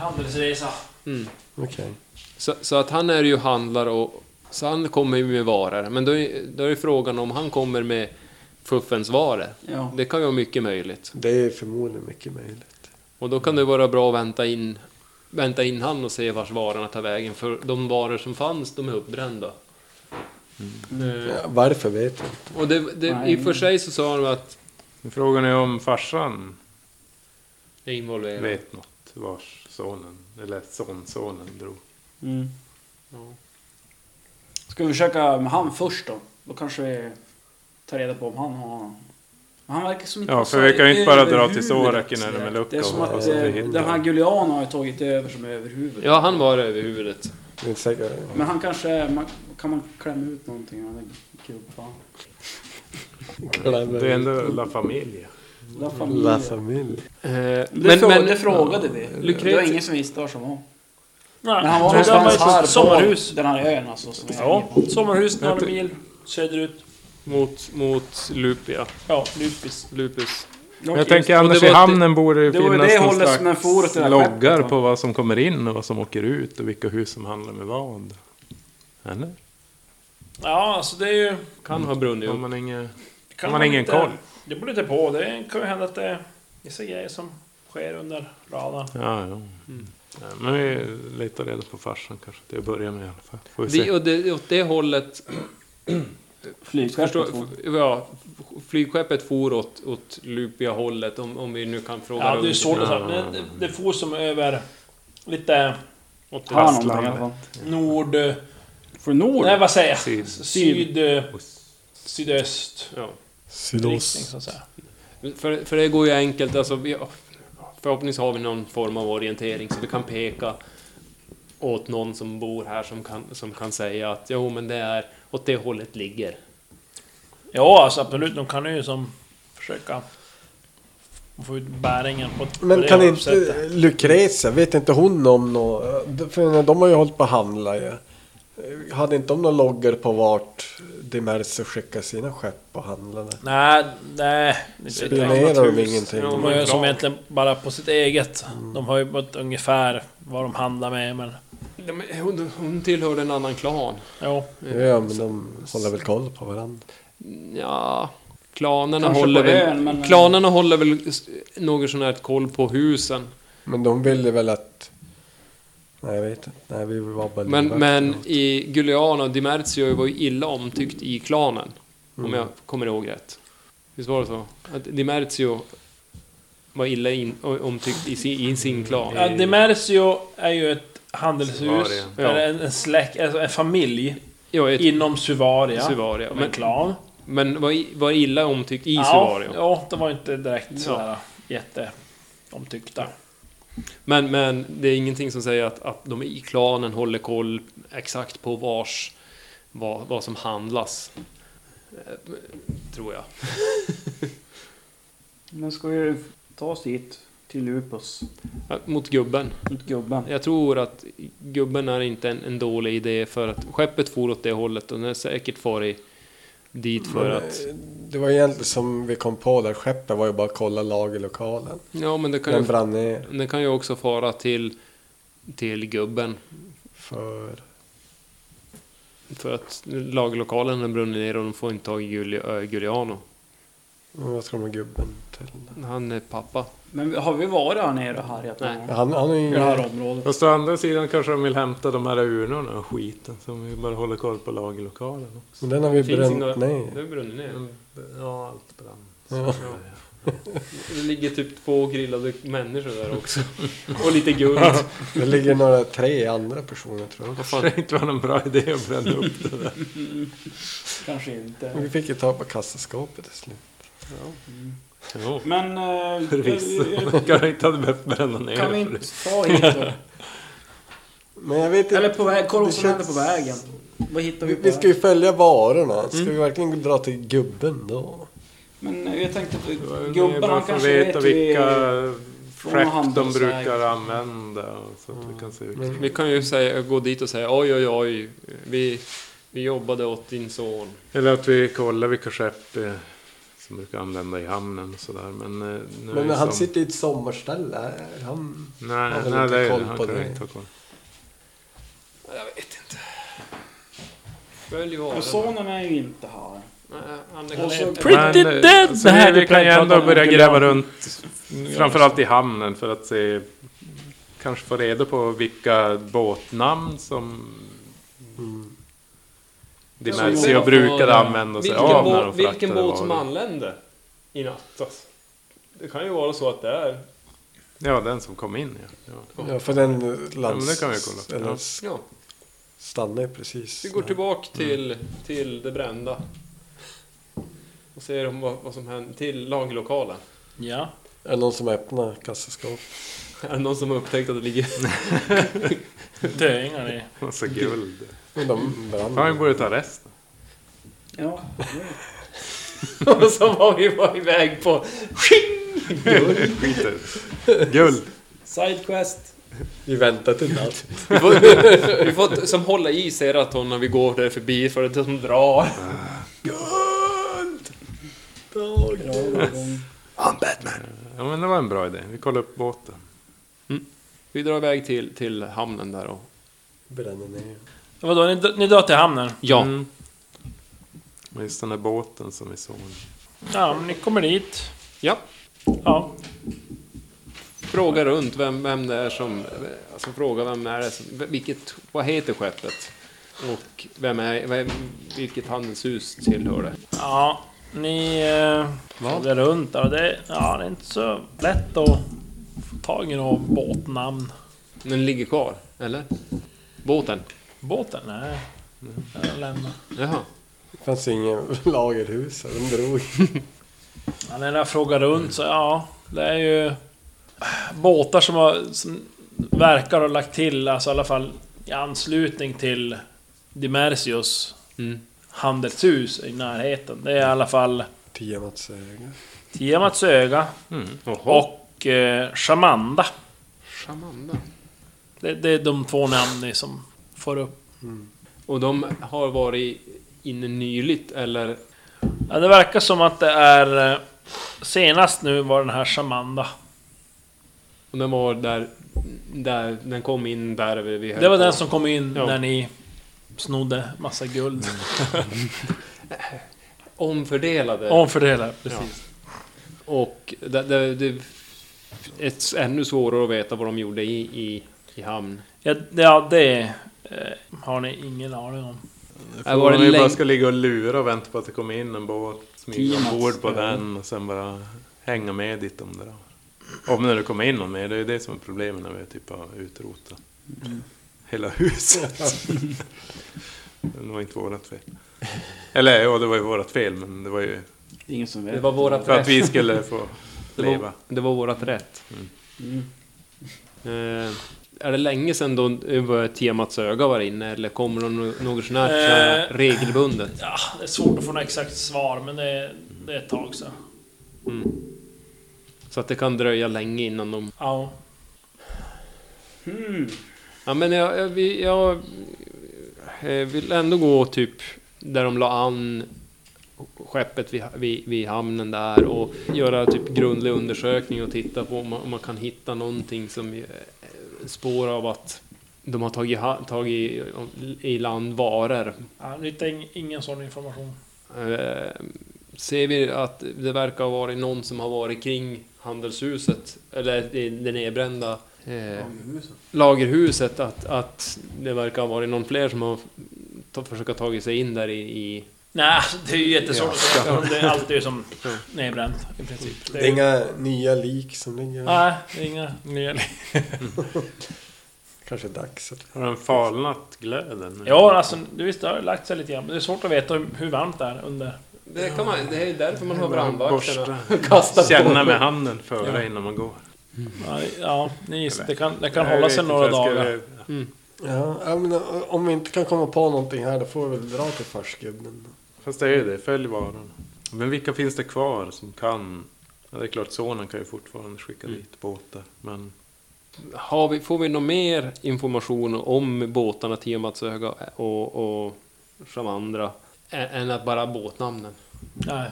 [SPEAKER 2] handelsresa.
[SPEAKER 3] Mm.
[SPEAKER 4] Okej.
[SPEAKER 3] Så, så att han är ju handlare och... Så han kommer ju med varor. Men då är, då är frågan om han kommer med fuffens varor.
[SPEAKER 6] Ja.
[SPEAKER 3] Det kan ju vara mycket möjligt.
[SPEAKER 4] Det är förmodligen mycket möjligt.
[SPEAKER 3] Och då kan det vara bra att vänta in, vänta in han och se vars varorna tar vägen. För de varor som fanns, de är uppbrända.
[SPEAKER 4] Ja, varför vet jag inte.
[SPEAKER 3] Och det, det, i och för sig så sa de att...
[SPEAKER 5] Men Frågan är om farsan
[SPEAKER 3] Jag är involverad.
[SPEAKER 5] vet något vars sonen, eller sonsonen drog.
[SPEAKER 6] Mm. Ska vi försöka med han först då? Då kanske vi tar reda på om han har någon. Men Han verkar som inte
[SPEAKER 5] Ja,
[SPEAKER 6] ha
[SPEAKER 5] för vi
[SPEAKER 6] så
[SPEAKER 5] kan ju inte bara dra till
[SPEAKER 6] överhuvudet
[SPEAKER 5] Sorakin eller
[SPEAKER 6] sådär.
[SPEAKER 5] Melucca
[SPEAKER 6] Det är som
[SPEAKER 5] och
[SPEAKER 6] att
[SPEAKER 5] hoppas att vi
[SPEAKER 6] eh,
[SPEAKER 5] hittar.
[SPEAKER 6] den här Guliano har ju tagit över som överhuvud.
[SPEAKER 3] Ja, han var över huvudet.
[SPEAKER 4] Det är inte säkert.
[SPEAKER 6] Men han kanske... Man, kan man klämma ut någonting av den gubben?
[SPEAKER 5] Det är ändå La Familia.
[SPEAKER 6] La
[SPEAKER 4] La
[SPEAKER 6] familj.
[SPEAKER 4] familj.
[SPEAKER 3] Eh,
[SPEAKER 6] Det, frå
[SPEAKER 3] men-
[SPEAKER 6] det frågade vi.
[SPEAKER 3] Lucrezia-
[SPEAKER 6] Det var ingen som visste var som var.
[SPEAKER 2] Nej,
[SPEAKER 6] Men han var
[SPEAKER 2] trodde han
[SPEAKER 6] någonstans
[SPEAKER 2] var i
[SPEAKER 6] här
[SPEAKER 2] ett
[SPEAKER 6] på
[SPEAKER 2] sommarhus.
[SPEAKER 6] den här ön alltså. Som är
[SPEAKER 2] Ja, sommarhus några
[SPEAKER 3] Vet du-
[SPEAKER 2] mil söderut.
[SPEAKER 3] Mot, mot Lupia.
[SPEAKER 2] Ja, Lupis.
[SPEAKER 3] Lupus.
[SPEAKER 5] Men jag tänker
[SPEAKER 3] Och det
[SPEAKER 5] annars i
[SPEAKER 3] var-
[SPEAKER 5] hamnen borde det
[SPEAKER 6] det var ju
[SPEAKER 5] finnas
[SPEAKER 6] det
[SPEAKER 5] någon
[SPEAKER 6] hållet som den for åt
[SPEAKER 5] slags
[SPEAKER 6] det där
[SPEAKER 5] loggar
[SPEAKER 6] skeppet, va?
[SPEAKER 5] på vad som kommer in och vad som åker ut och vilka hus som handlar med vad. Eller?
[SPEAKER 2] Ja, alltså det är ju...
[SPEAKER 3] Kan ha brunnit
[SPEAKER 5] Har
[SPEAKER 3] upp.
[SPEAKER 5] man inget...
[SPEAKER 2] Kan
[SPEAKER 5] Har man ingen
[SPEAKER 2] inte,
[SPEAKER 5] koll?
[SPEAKER 2] Det beror lite på. Det kan ju hända att det är vissa grejer som sker under radarn.
[SPEAKER 5] Ja, ja. Nej, men vi letar reda på farsan kanske till att börja med i alla fall. Får vi
[SPEAKER 3] Det,
[SPEAKER 5] se.
[SPEAKER 3] och det, åt det hållet...
[SPEAKER 6] Flygskeppet.
[SPEAKER 3] Förstå, f- ja, flygskeppet for åt, åt Lupia-hållet, om, om vi nu kan fråga
[SPEAKER 2] Ja,
[SPEAKER 3] runt.
[SPEAKER 2] det är svårt att säga. men Det, det får som över lite
[SPEAKER 3] Åt
[SPEAKER 6] Har han
[SPEAKER 3] väst.
[SPEAKER 6] någonting i alla fall?
[SPEAKER 2] nord...
[SPEAKER 6] För nord?
[SPEAKER 2] Nej, vad säger jag?
[SPEAKER 5] Syd.
[SPEAKER 2] Syd... eh, Sydöst.
[SPEAKER 3] Ja.
[SPEAKER 2] Riktning,
[SPEAKER 4] Sydost.
[SPEAKER 2] så att säga.
[SPEAKER 3] För, för det går ju enkelt, alltså... Vi, förhoppningsvis har vi någon form av orientering så vi kan peka åt någon som bor här som kan, som kan säga att jo, men det är åt det hållet ligger.
[SPEAKER 2] Ja, alltså absolut. De kan ju som försöka få ut bäringen på ett... på
[SPEAKER 4] Men
[SPEAKER 2] det
[SPEAKER 4] kan
[SPEAKER 2] sättet.
[SPEAKER 4] inte Lucrezia, vet inte hon om något? För de har ju hållit på att handla ju. Hade inte de några loggor på vart Dimerso skickar sina skepp och handlade?
[SPEAKER 2] Nej, nej. det-
[SPEAKER 4] Spionerar de ingenting?
[SPEAKER 2] De har ju som egentligen bara på sitt eget.
[SPEAKER 4] Mm.
[SPEAKER 2] De har ju på ett ungefär vad de handlar med, men...
[SPEAKER 3] Ja, men Hon, hon tillhörde en annan klan.
[SPEAKER 2] Jo.
[SPEAKER 4] Ja, men de håller väl koll på varandra.
[SPEAKER 3] Ja, klanerna
[SPEAKER 6] Kanske
[SPEAKER 3] håller
[SPEAKER 6] på
[SPEAKER 3] väl...
[SPEAKER 6] ön, men-
[SPEAKER 3] Klanerna håller väl s- något sån här koll på husen.
[SPEAKER 4] Men de ville väl att... Nej, jag vet inte. Nej, vi var bara
[SPEAKER 3] Men,
[SPEAKER 4] livvakter.
[SPEAKER 3] men i Guliana och Dimerzio var ju illa omtyckt i klanen. Om jag kommer ihåg rätt. Visst var det så? Att Dimerzio var illa in, omtyckt i sin, i sin klan.
[SPEAKER 2] Ja, Demersio är ju ett handelshus.
[SPEAKER 5] Suvaria.
[SPEAKER 2] Eller en, en släkt, alltså en familj.
[SPEAKER 3] Ja, ett
[SPEAKER 2] Inom Suvaria.
[SPEAKER 3] Suvaria.
[SPEAKER 2] Med
[SPEAKER 3] Men,
[SPEAKER 2] en klan.
[SPEAKER 3] men var, i- var illa omtyckt i
[SPEAKER 2] ja,
[SPEAKER 3] Suvaria.
[SPEAKER 2] Ja, de var inte direkt sådär jätteomtyckta.
[SPEAKER 3] Men, men det är ingenting som säger att, att de i klanen håller koll exakt på vars, vad, vad som handlas. Eh, Tror jag.
[SPEAKER 6] Men ska vi ta oss hit till Lupus?
[SPEAKER 3] Ja, Mot gubben.
[SPEAKER 6] Mot gubben.
[SPEAKER 3] Jag tror att gubben är inte en, en dålig idé för att skeppet for åt det hållet och den är säkert farit dit för
[SPEAKER 4] Men,
[SPEAKER 3] att...
[SPEAKER 4] eh, Det var egentligen som vi kom på där, skeppet var ju bara att kolla lagerlokalen.
[SPEAKER 3] Ja men det kan
[SPEAKER 4] Den
[SPEAKER 3] ju,
[SPEAKER 4] brann ner
[SPEAKER 3] det kan ju också fara till, till gubben
[SPEAKER 4] för...
[SPEAKER 3] för att lagerlokalen har brunnit ner och de får inte tag i Giuli- äh, Giuliano.
[SPEAKER 4] Men Vad ska de med gubben till?
[SPEAKER 3] Han är pappa.
[SPEAKER 6] Men har vi varit här nere och härjat någon
[SPEAKER 3] Nej.
[SPEAKER 6] gång?
[SPEAKER 4] Han, han är ju...
[SPEAKER 6] I det här området?
[SPEAKER 5] Fast å andra sidan kanske de vill hämta de här urnorna och skiten som vi bara håller koll på lagerlokalen också.
[SPEAKER 4] Den har vi
[SPEAKER 3] Finns inga-
[SPEAKER 4] bränt ner.
[SPEAKER 3] Det är brunnit ner.
[SPEAKER 5] Ja, allt brann.
[SPEAKER 4] Ja.
[SPEAKER 3] Det ligger typ två grillade människor där också. Och lite guld.
[SPEAKER 4] Det ligger några tre andra personer tror jag.
[SPEAKER 3] Vad fan?
[SPEAKER 5] Det inte var någon bra idé att bränna upp det där.
[SPEAKER 6] Kanske
[SPEAKER 4] Men
[SPEAKER 6] inte.
[SPEAKER 4] Vi fick ju tag på kassaskåpet till slut.
[SPEAKER 5] Jo,
[SPEAKER 6] Men... eh,
[SPEAKER 5] förvisso. Man kanske inte hade behövt bränna ner
[SPEAKER 6] Kan vi
[SPEAKER 5] det.
[SPEAKER 6] inte ta hit då?
[SPEAKER 4] Men jag vet inte...
[SPEAKER 6] Eller på väg, kolla vad
[SPEAKER 4] Det
[SPEAKER 6] som händer på
[SPEAKER 4] känns-
[SPEAKER 6] vägen. Vad hittar vi
[SPEAKER 4] Vi,
[SPEAKER 6] på
[SPEAKER 4] vi ska ju följa varorna. Ska vi verkligen dra till gubben då?
[SPEAKER 6] Men eh, jag tänkte,
[SPEAKER 5] Gubbarna
[SPEAKER 6] gubben han
[SPEAKER 5] för att
[SPEAKER 6] kanske
[SPEAKER 5] veta
[SPEAKER 6] vet
[SPEAKER 5] vilka
[SPEAKER 6] från
[SPEAKER 5] skepp de
[SPEAKER 6] handelsväg.
[SPEAKER 5] brukar använda. och Så att vi kan se vilka.
[SPEAKER 4] Mm.
[SPEAKER 3] Vi kan ju säga, gå dit och säga oj, oj, oj. Vi, vi jobbade åt din son.
[SPEAKER 5] Eller att vi kollar vilka skepp eh, som brukar använda i hamnen och sådär. Men, eh, nu är
[SPEAKER 4] Men
[SPEAKER 5] det
[SPEAKER 4] han
[SPEAKER 5] som-
[SPEAKER 4] sitter i ett sommarställe. Är Han...
[SPEAKER 5] Nej,
[SPEAKER 4] har väl
[SPEAKER 5] nej
[SPEAKER 4] inte
[SPEAKER 5] det,
[SPEAKER 4] koll
[SPEAKER 5] han
[SPEAKER 4] på
[SPEAKER 5] kan
[SPEAKER 4] det.
[SPEAKER 5] inte ha koll.
[SPEAKER 3] Jag vet inte. Följ
[SPEAKER 6] Och
[SPEAKER 3] varan.
[SPEAKER 6] sonen är ju inte här.
[SPEAKER 3] Nej, Han
[SPEAKER 6] Och så-
[SPEAKER 3] är
[SPEAKER 2] Pretty
[SPEAKER 5] eh,
[SPEAKER 2] dead!
[SPEAKER 5] alltså,
[SPEAKER 2] Det här
[SPEAKER 5] vi,
[SPEAKER 2] du
[SPEAKER 5] vi kan ju
[SPEAKER 2] pratade
[SPEAKER 5] ändå
[SPEAKER 2] om,
[SPEAKER 5] börja
[SPEAKER 2] Gulan.
[SPEAKER 5] gräva runt. Framförallt i hamnen för att se. Kanske få reda på vilka båtnamn som
[SPEAKER 4] Mm.
[SPEAKER 5] Dimercio brukade använda sig
[SPEAKER 3] vilken
[SPEAKER 5] av när
[SPEAKER 3] båt,
[SPEAKER 5] de fraktade
[SPEAKER 3] Vilken båt som
[SPEAKER 5] varor.
[SPEAKER 3] anlände i natt. alltså. Det kan ju vara så att det är...
[SPEAKER 5] Ja, den som kom in ja. ja.
[SPEAKER 4] Ja, för den lands...
[SPEAKER 5] Ja, men det kan vi kolla.
[SPEAKER 4] Eller
[SPEAKER 5] Ja.
[SPEAKER 4] s-
[SPEAKER 3] Ja,
[SPEAKER 4] stannar ju precis.
[SPEAKER 3] vi går tillbaka till, till det brända. Och ser om vad, vad som händer. Till laglokalen.
[SPEAKER 2] Ja.
[SPEAKER 4] Är det någon som öppnar kassaskåp?
[SPEAKER 3] Är det någon som har upptäckt att det ligger...
[SPEAKER 2] Döingar i...
[SPEAKER 5] Massa guld.
[SPEAKER 4] Men de brann.
[SPEAKER 5] Fan, vi borde ta resten.
[SPEAKER 6] Ja,
[SPEAKER 3] Och så var vi var iväg på...
[SPEAKER 5] Skit i det. Guld.
[SPEAKER 6] Sidequest.
[SPEAKER 4] Vi väntar till natt.
[SPEAKER 3] Vi får, vi får som hålla i Seraton när vi går där förbi för det är som drar.
[SPEAKER 5] Ja, men det var en bra idé. Vi kollar upp båten.
[SPEAKER 3] Vi drar iväg till, till hamnen där och...
[SPEAKER 4] Bränner ner.
[SPEAKER 2] Vadå, ni, ni drar till hamnen?
[SPEAKER 3] Ja.
[SPEAKER 5] Mm. Och Just den där båten som vi såg.
[SPEAKER 2] Ja, men ni kommer dit.
[SPEAKER 3] Ja.
[SPEAKER 2] Ja.
[SPEAKER 3] Fråga runt vem, vem det är som... Alltså fråga vem är det som... Vilket... Vad heter skeppet? Och vem är... Vem, vilket handelshus tillhör det?
[SPEAKER 2] Ja, ni... Eh, frågar runt där och det... Ja, det är inte så lätt att få tag i något båtnamn.
[SPEAKER 3] Den ligger kvar, eller? Båten?
[SPEAKER 2] Båten? Nej. Jag lämnar.
[SPEAKER 3] Jaha.
[SPEAKER 4] Det fanns ingen lagerhus. här, De drog.
[SPEAKER 2] Ja, när jag frågar runt så, ja... Det är ju... Båtar som har... Som verkar ha lagt till, alltså i alla fall i anslutning till Dimersios
[SPEAKER 3] Mm.
[SPEAKER 2] handelshus i närheten. Det är i alla fall
[SPEAKER 4] Tiamats öga.
[SPEAKER 2] Tiamats öga och eh, Shamanda.
[SPEAKER 3] Shamanda.
[SPEAKER 2] Det, det är de två namnen som får upp.
[SPEAKER 3] Och de har varit inne nyligt, eller?
[SPEAKER 2] Ja, det verkar som att det är... eh, Senast nu var den här Shamanda.
[SPEAKER 3] Och den var där... Där... Den kom in där vi... vi höll
[SPEAKER 2] Det var
[SPEAKER 3] på.
[SPEAKER 2] den som kom in
[SPEAKER 3] Ja.
[SPEAKER 2] när ni snodde massa guld.
[SPEAKER 3] Omfördelade.
[SPEAKER 2] Omfördelade, precis.
[SPEAKER 3] Och det, det, det är ännu svårare att veta vad de gjorde i, i, i hamn.
[SPEAKER 2] Ja, det- ja det eh, har ni ingen aning om.
[SPEAKER 3] Äh,
[SPEAKER 5] Var
[SPEAKER 3] var det
[SPEAKER 5] det vi bara
[SPEAKER 3] länge-
[SPEAKER 5] ska ligga och lura och vänta på att det kommer in en båt. Smyga
[SPEAKER 6] Tiamats,
[SPEAKER 5] ombord på
[SPEAKER 6] ja.
[SPEAKER 5] den och sen bara hänga med dit om det där. Om när det kommer in någon mer. Det är ju det som är problemet när vi typ har utrotat hela huset. det var inte vårat fel. Eller ja, det var ju vårat fel men det var ju
[SPEAKER 6] Ingen som vet.
[SPEAKER 3] Det var vårat
[SPEAKER 5] för att
[SPEAKER 3] rätt.
[SPEAKER 5] vi skulle få
[SPEAKER 3] Det var,
[SPEAKER 5] leva.
[SPEAKER 3] det var vårat rätt.
[SPEAKER 6] Mm.
[SPEAKER 3] Eh, är det länge sedan då eh, var Tiamats öga var inne eller kommer de no- något sån här, så här
[SPEAKER 2] Eh.
[SPEAKER 3] regelbundet?
[SPEAKER 2] Ja, det är svårt att få något exakt svar, men det är, det är ett tag sedan.
[SPEAKER 3] Så att det kan dröja länge innan de...
[SPEAKER 2] Ja.
[SPEAKER 6] Hmm.
[SPEAKER 3] Ja men jag, jag, vi- jag eh, vill ändå gå typ där de la an skeppet vid, vid, vid hamnen där och göra typ grundlig undersökning och titta på om man, om man kan hitta någonting som eh, spår av att de har tagit, ha- tagit i land varor.
[SPEAKER 2] ja ni hittar ing- ingen sån information.
[SPEAKER 3] Eh, Ser vi att det verkar ha varit någon som har varit kring handelshuset, eller det, det nedbrända eh, lagerhuset, att, att det verkar ha varit någon fler som har ta, försökt tagit sig in där i... i
[SPEAKER 2] Nej, alltså, det är ju jättesvårt att säga. Det är alltid som nedbränt i princip.
[SPEAKER 4] Det är inga nya lik som ligger.
[SPEAKER 2] Nej, det är inga nya
[SPEAKER 4] Kanske dags att...
[SPEAKER 5] Har den falnat glöden? nu?
[SPEAKER 2] Ja, alltså du visst, det har lagt sig lite grann. Men det är svårt att veta hur- hur varmt det är under.
[SPEAKER 3] det, kan man, det är därför man har
[SPEAKER 5] Borsta.
[SPEAKER 3] brandvakterna. Kasta på.
[SPEAKER 5] Känna med handen före innan man går.
[SPEAKER 2] Ja, det- Ja, ni, gissar. det kan, det kan
[SPEAKER 5] Jag
[SPEAKER 2] hålla
[SPEAKER 5] vet
[SPEAKER 2] sig
[SPEAKER 5] inte,
[SPEAKER 2] några
[SPEAKER 5] jag ska-
[SPEAKER 2] dagar.
[SPEAKER 4] Ja, ja, men om vi inte kan komma på någonting här då får vi väl dra till farsgubben.
[SPEAKER 5] Fast det är ju det, följ varan. Men vilka finns det kvar som kan? Ja, det är klart, sonen kan ju fortfarande skicka
[SPEAKER 2] Mm.
[SPEAKER 5] dit båtar. Men
[SPEAKER 3] Har vi, får vi någon mer information om båtarna Tiamats öga och, och Shamandra ä- än att bara båtnamnen?
[SPEAKER 2] Nej.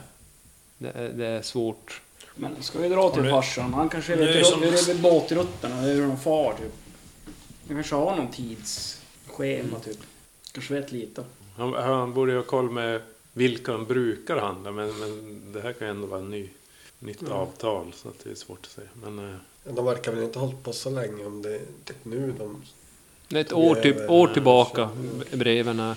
[SPEAKER 3] Det är, det är svårt.
[SPEAKER 6] Men ska vi dra till
[SPEAKER 2] du-
[SPEAKER 6] farsan? Han kanske
[SPEAKER 2] Det är
[SPEAKER 6] vet
[SPEAKER 2] som-
[SPEAKER 6] som... hur det är med båtrutterna, hur de far typ. Vi kanske har någon tidsschema typ. Kanske vet lite.
[SPEAKER 5] han, han borde ju ha koll med vilka han brukar handla. Men, men det här kan ju ändå vara en ny, nytt
[SPEAKER 2] Mm.
[SPEAKER 5] avtal så att det är svårt att säga. Men eh,
[SPEAKER 4] De verkar väl inte ha hållit på så länge om det är typ nu de...
[SPEAKER 3] Det är ett år, typ, år tillbaka breven är.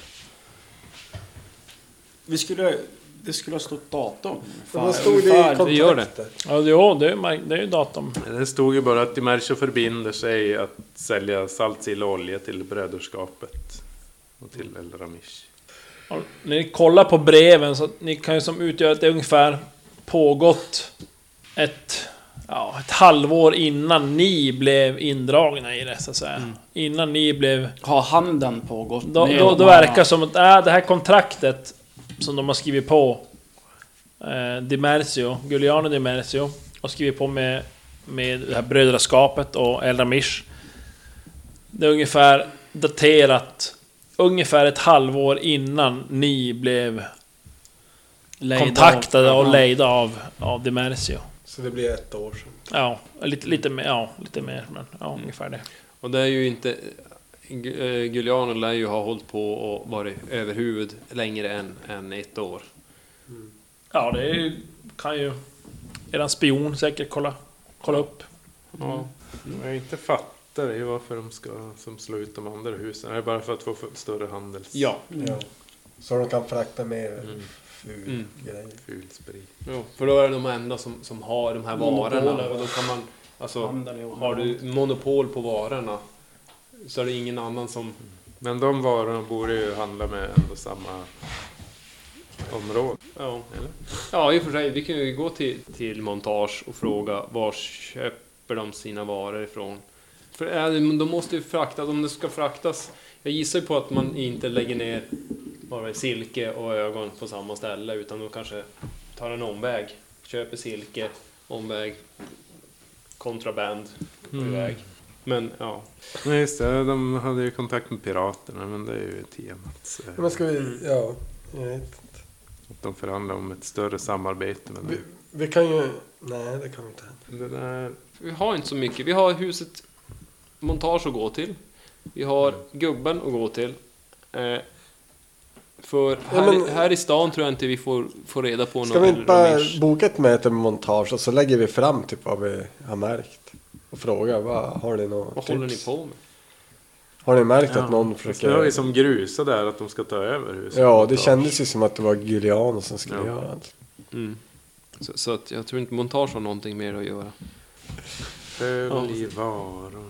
[SPEAKER 6] Vi skulle... Det skulle ha stått datum.
[SPEAKER 4] Men vad stod det i
[SPEAKER 3] det gör det.
[SPEAKER 4] kontraktet?
[SPEAKER 2] Ja, jo, det är, mar- det är ju datum.
[SPEAKER 5] det stod ju bara att Dimercio förbinder sig att sälja salt, sill och olja till bröderskapet. Och till
[SPEAKER 4] Mm.
[SPEAKER 5] El Ramish.
[SPEAKER 2] Ja, När ni kollar på breven så att ni kan ju som utgöra att det ungefär pågått ett, ja, ett halvår innan ni blev indragna i det så att säga. Innan ni blev...
[SPEAKER 6] Har handeln pågått?
[SPEAKER 2] Då,
[SPEAKER 6] med
[SPEAKER 2] då,
[SPEAKER 6] de
[SPEAKER 2] då
[SPEAKER 6] här-
[SPEAKER 2] verkar som att äh, det här kontraktet som de har skrivit på eh, Dimercio, Giuliano Dimercio och skrivit på med, med det här brödraskapet och El Ramish. Det är ungefär daterat ungefär ett halvår innan ni blev
[SPEAKER 6] lejda av-
[SPEAKER 2] kontaktade och
[SPEAKER 6] Ja.
[SPEAKER 2] lejda av, av Dimercio.
[SPEAKER 4] Så det blir ett år sedan.
[SPEAKER 2] Ja, lite, lite mer, ja, lite mer, men ja,
[SPEAKER 6] Mm.
[SPEAKER 2] ungefär det.
[SPEAKER 3] Och det är ju inte... Gu- eh, Giuliano lär ju ha hållit på och varit överhuvud längre än, än ett år.
[SPEAKER 2] Ja, det är, ju- kan ju eran spion säkert kolla, kolla upp.
[SPEAKER 5] Ja, jag inte fattar ju varför de ska som slå ut de andra husen. Är det bara för att få f- större handels...
[SPEAKER 4] Ja. Så de kan frakta med ful
[SPEAKER 3] Mm.
[SPEAKER 4] grejer.
[SPEAKER 5] Ful sprit.
[SPEAKER 3] Jo, för då är det de enda som, som har de här varorna.
[SPEAKER 6] Monopol.
[SPEAKER 3] Och då kan man, alltså,
[SPEAKER 6] Handeln är-
[SPEAKER 3] har du monopol på varorna så är det ingen annan som...
[SPEAKER 5] Men de varorna borde ju handla med ändå samma område.
[SPEAKER 3] Ja,
[SPEAKER 5] Eller?
[SPEAKER 3] ja i och för sig, vi kan ju gå till, till montage och fråga var köper de sina varor ifrån? För är det, men de måste ju fraktas, om det ska fraktas. Jag gissar ju på att man inte lägger ner bara silke och ögon på samma ställe utan de kanske tar en omväg. Köper silke, omväg, kontraband, iväg. Men ja,
[SPEAKER 5] Nej just det, de hade ju kontakt med piraterna men det är ju temat. eh,
[SPEAKER 4] Men ska vi... Mm. Ja. jag vet.
[SPEAKER 5] Att de förhandlar om ett större samarbete med
[SPEAKER 4] Vi,
[SPEAKER 5] dem.
[SPEAKER 4] vi kan ju... Nej, det kan vi inte.
[SPEAKER 5] Det där...
[SPEAKER 3] Vi har inte så mycket. Vi har huset montage att gå till. Vi har
[SPEAKER 4] Mm.
[SPEAKER 3] gubben att gå till. Eh, för här,
[SPEAKER 4] men-
[SPEAKER 3] här i stan tror jag inte vi får, får reda på något.
[SPEAKER 4] Ska vi inte
[SPEAKER 3] eller
[SPEAKER 4] bara
[SPEAKER 3] Ramesh.
[SPEAKER 4] boka ett möte med montage och så lägger vi fram typ vad vi har märkt? Och frågar, vad har ni
[SPEAKER 3] Vad
[SPEAKER 4] något tips?
[SPEAKER 3] håller ni på med?
[SPEAKER 4] Har ni märkt
[SPEAKER 5] Ja.
[SPEAKER 4] att någon
[SPEAKER 5] Fast Det var ju
[SPEAKER 4] försöker...
[SPEAKER 5] som grusa där att de ska ta över huset.
[SPEAKER 4] Ja, det kändes ju som att det var Giuliano som skulle
[SPEAKER 5] Ja.
[SPEAKER 4] göra allt.
[SPEAKER 3] Så, så att jag tror inte montage har någonting mer att göra.
[SPEAKER 5] Följ varorna.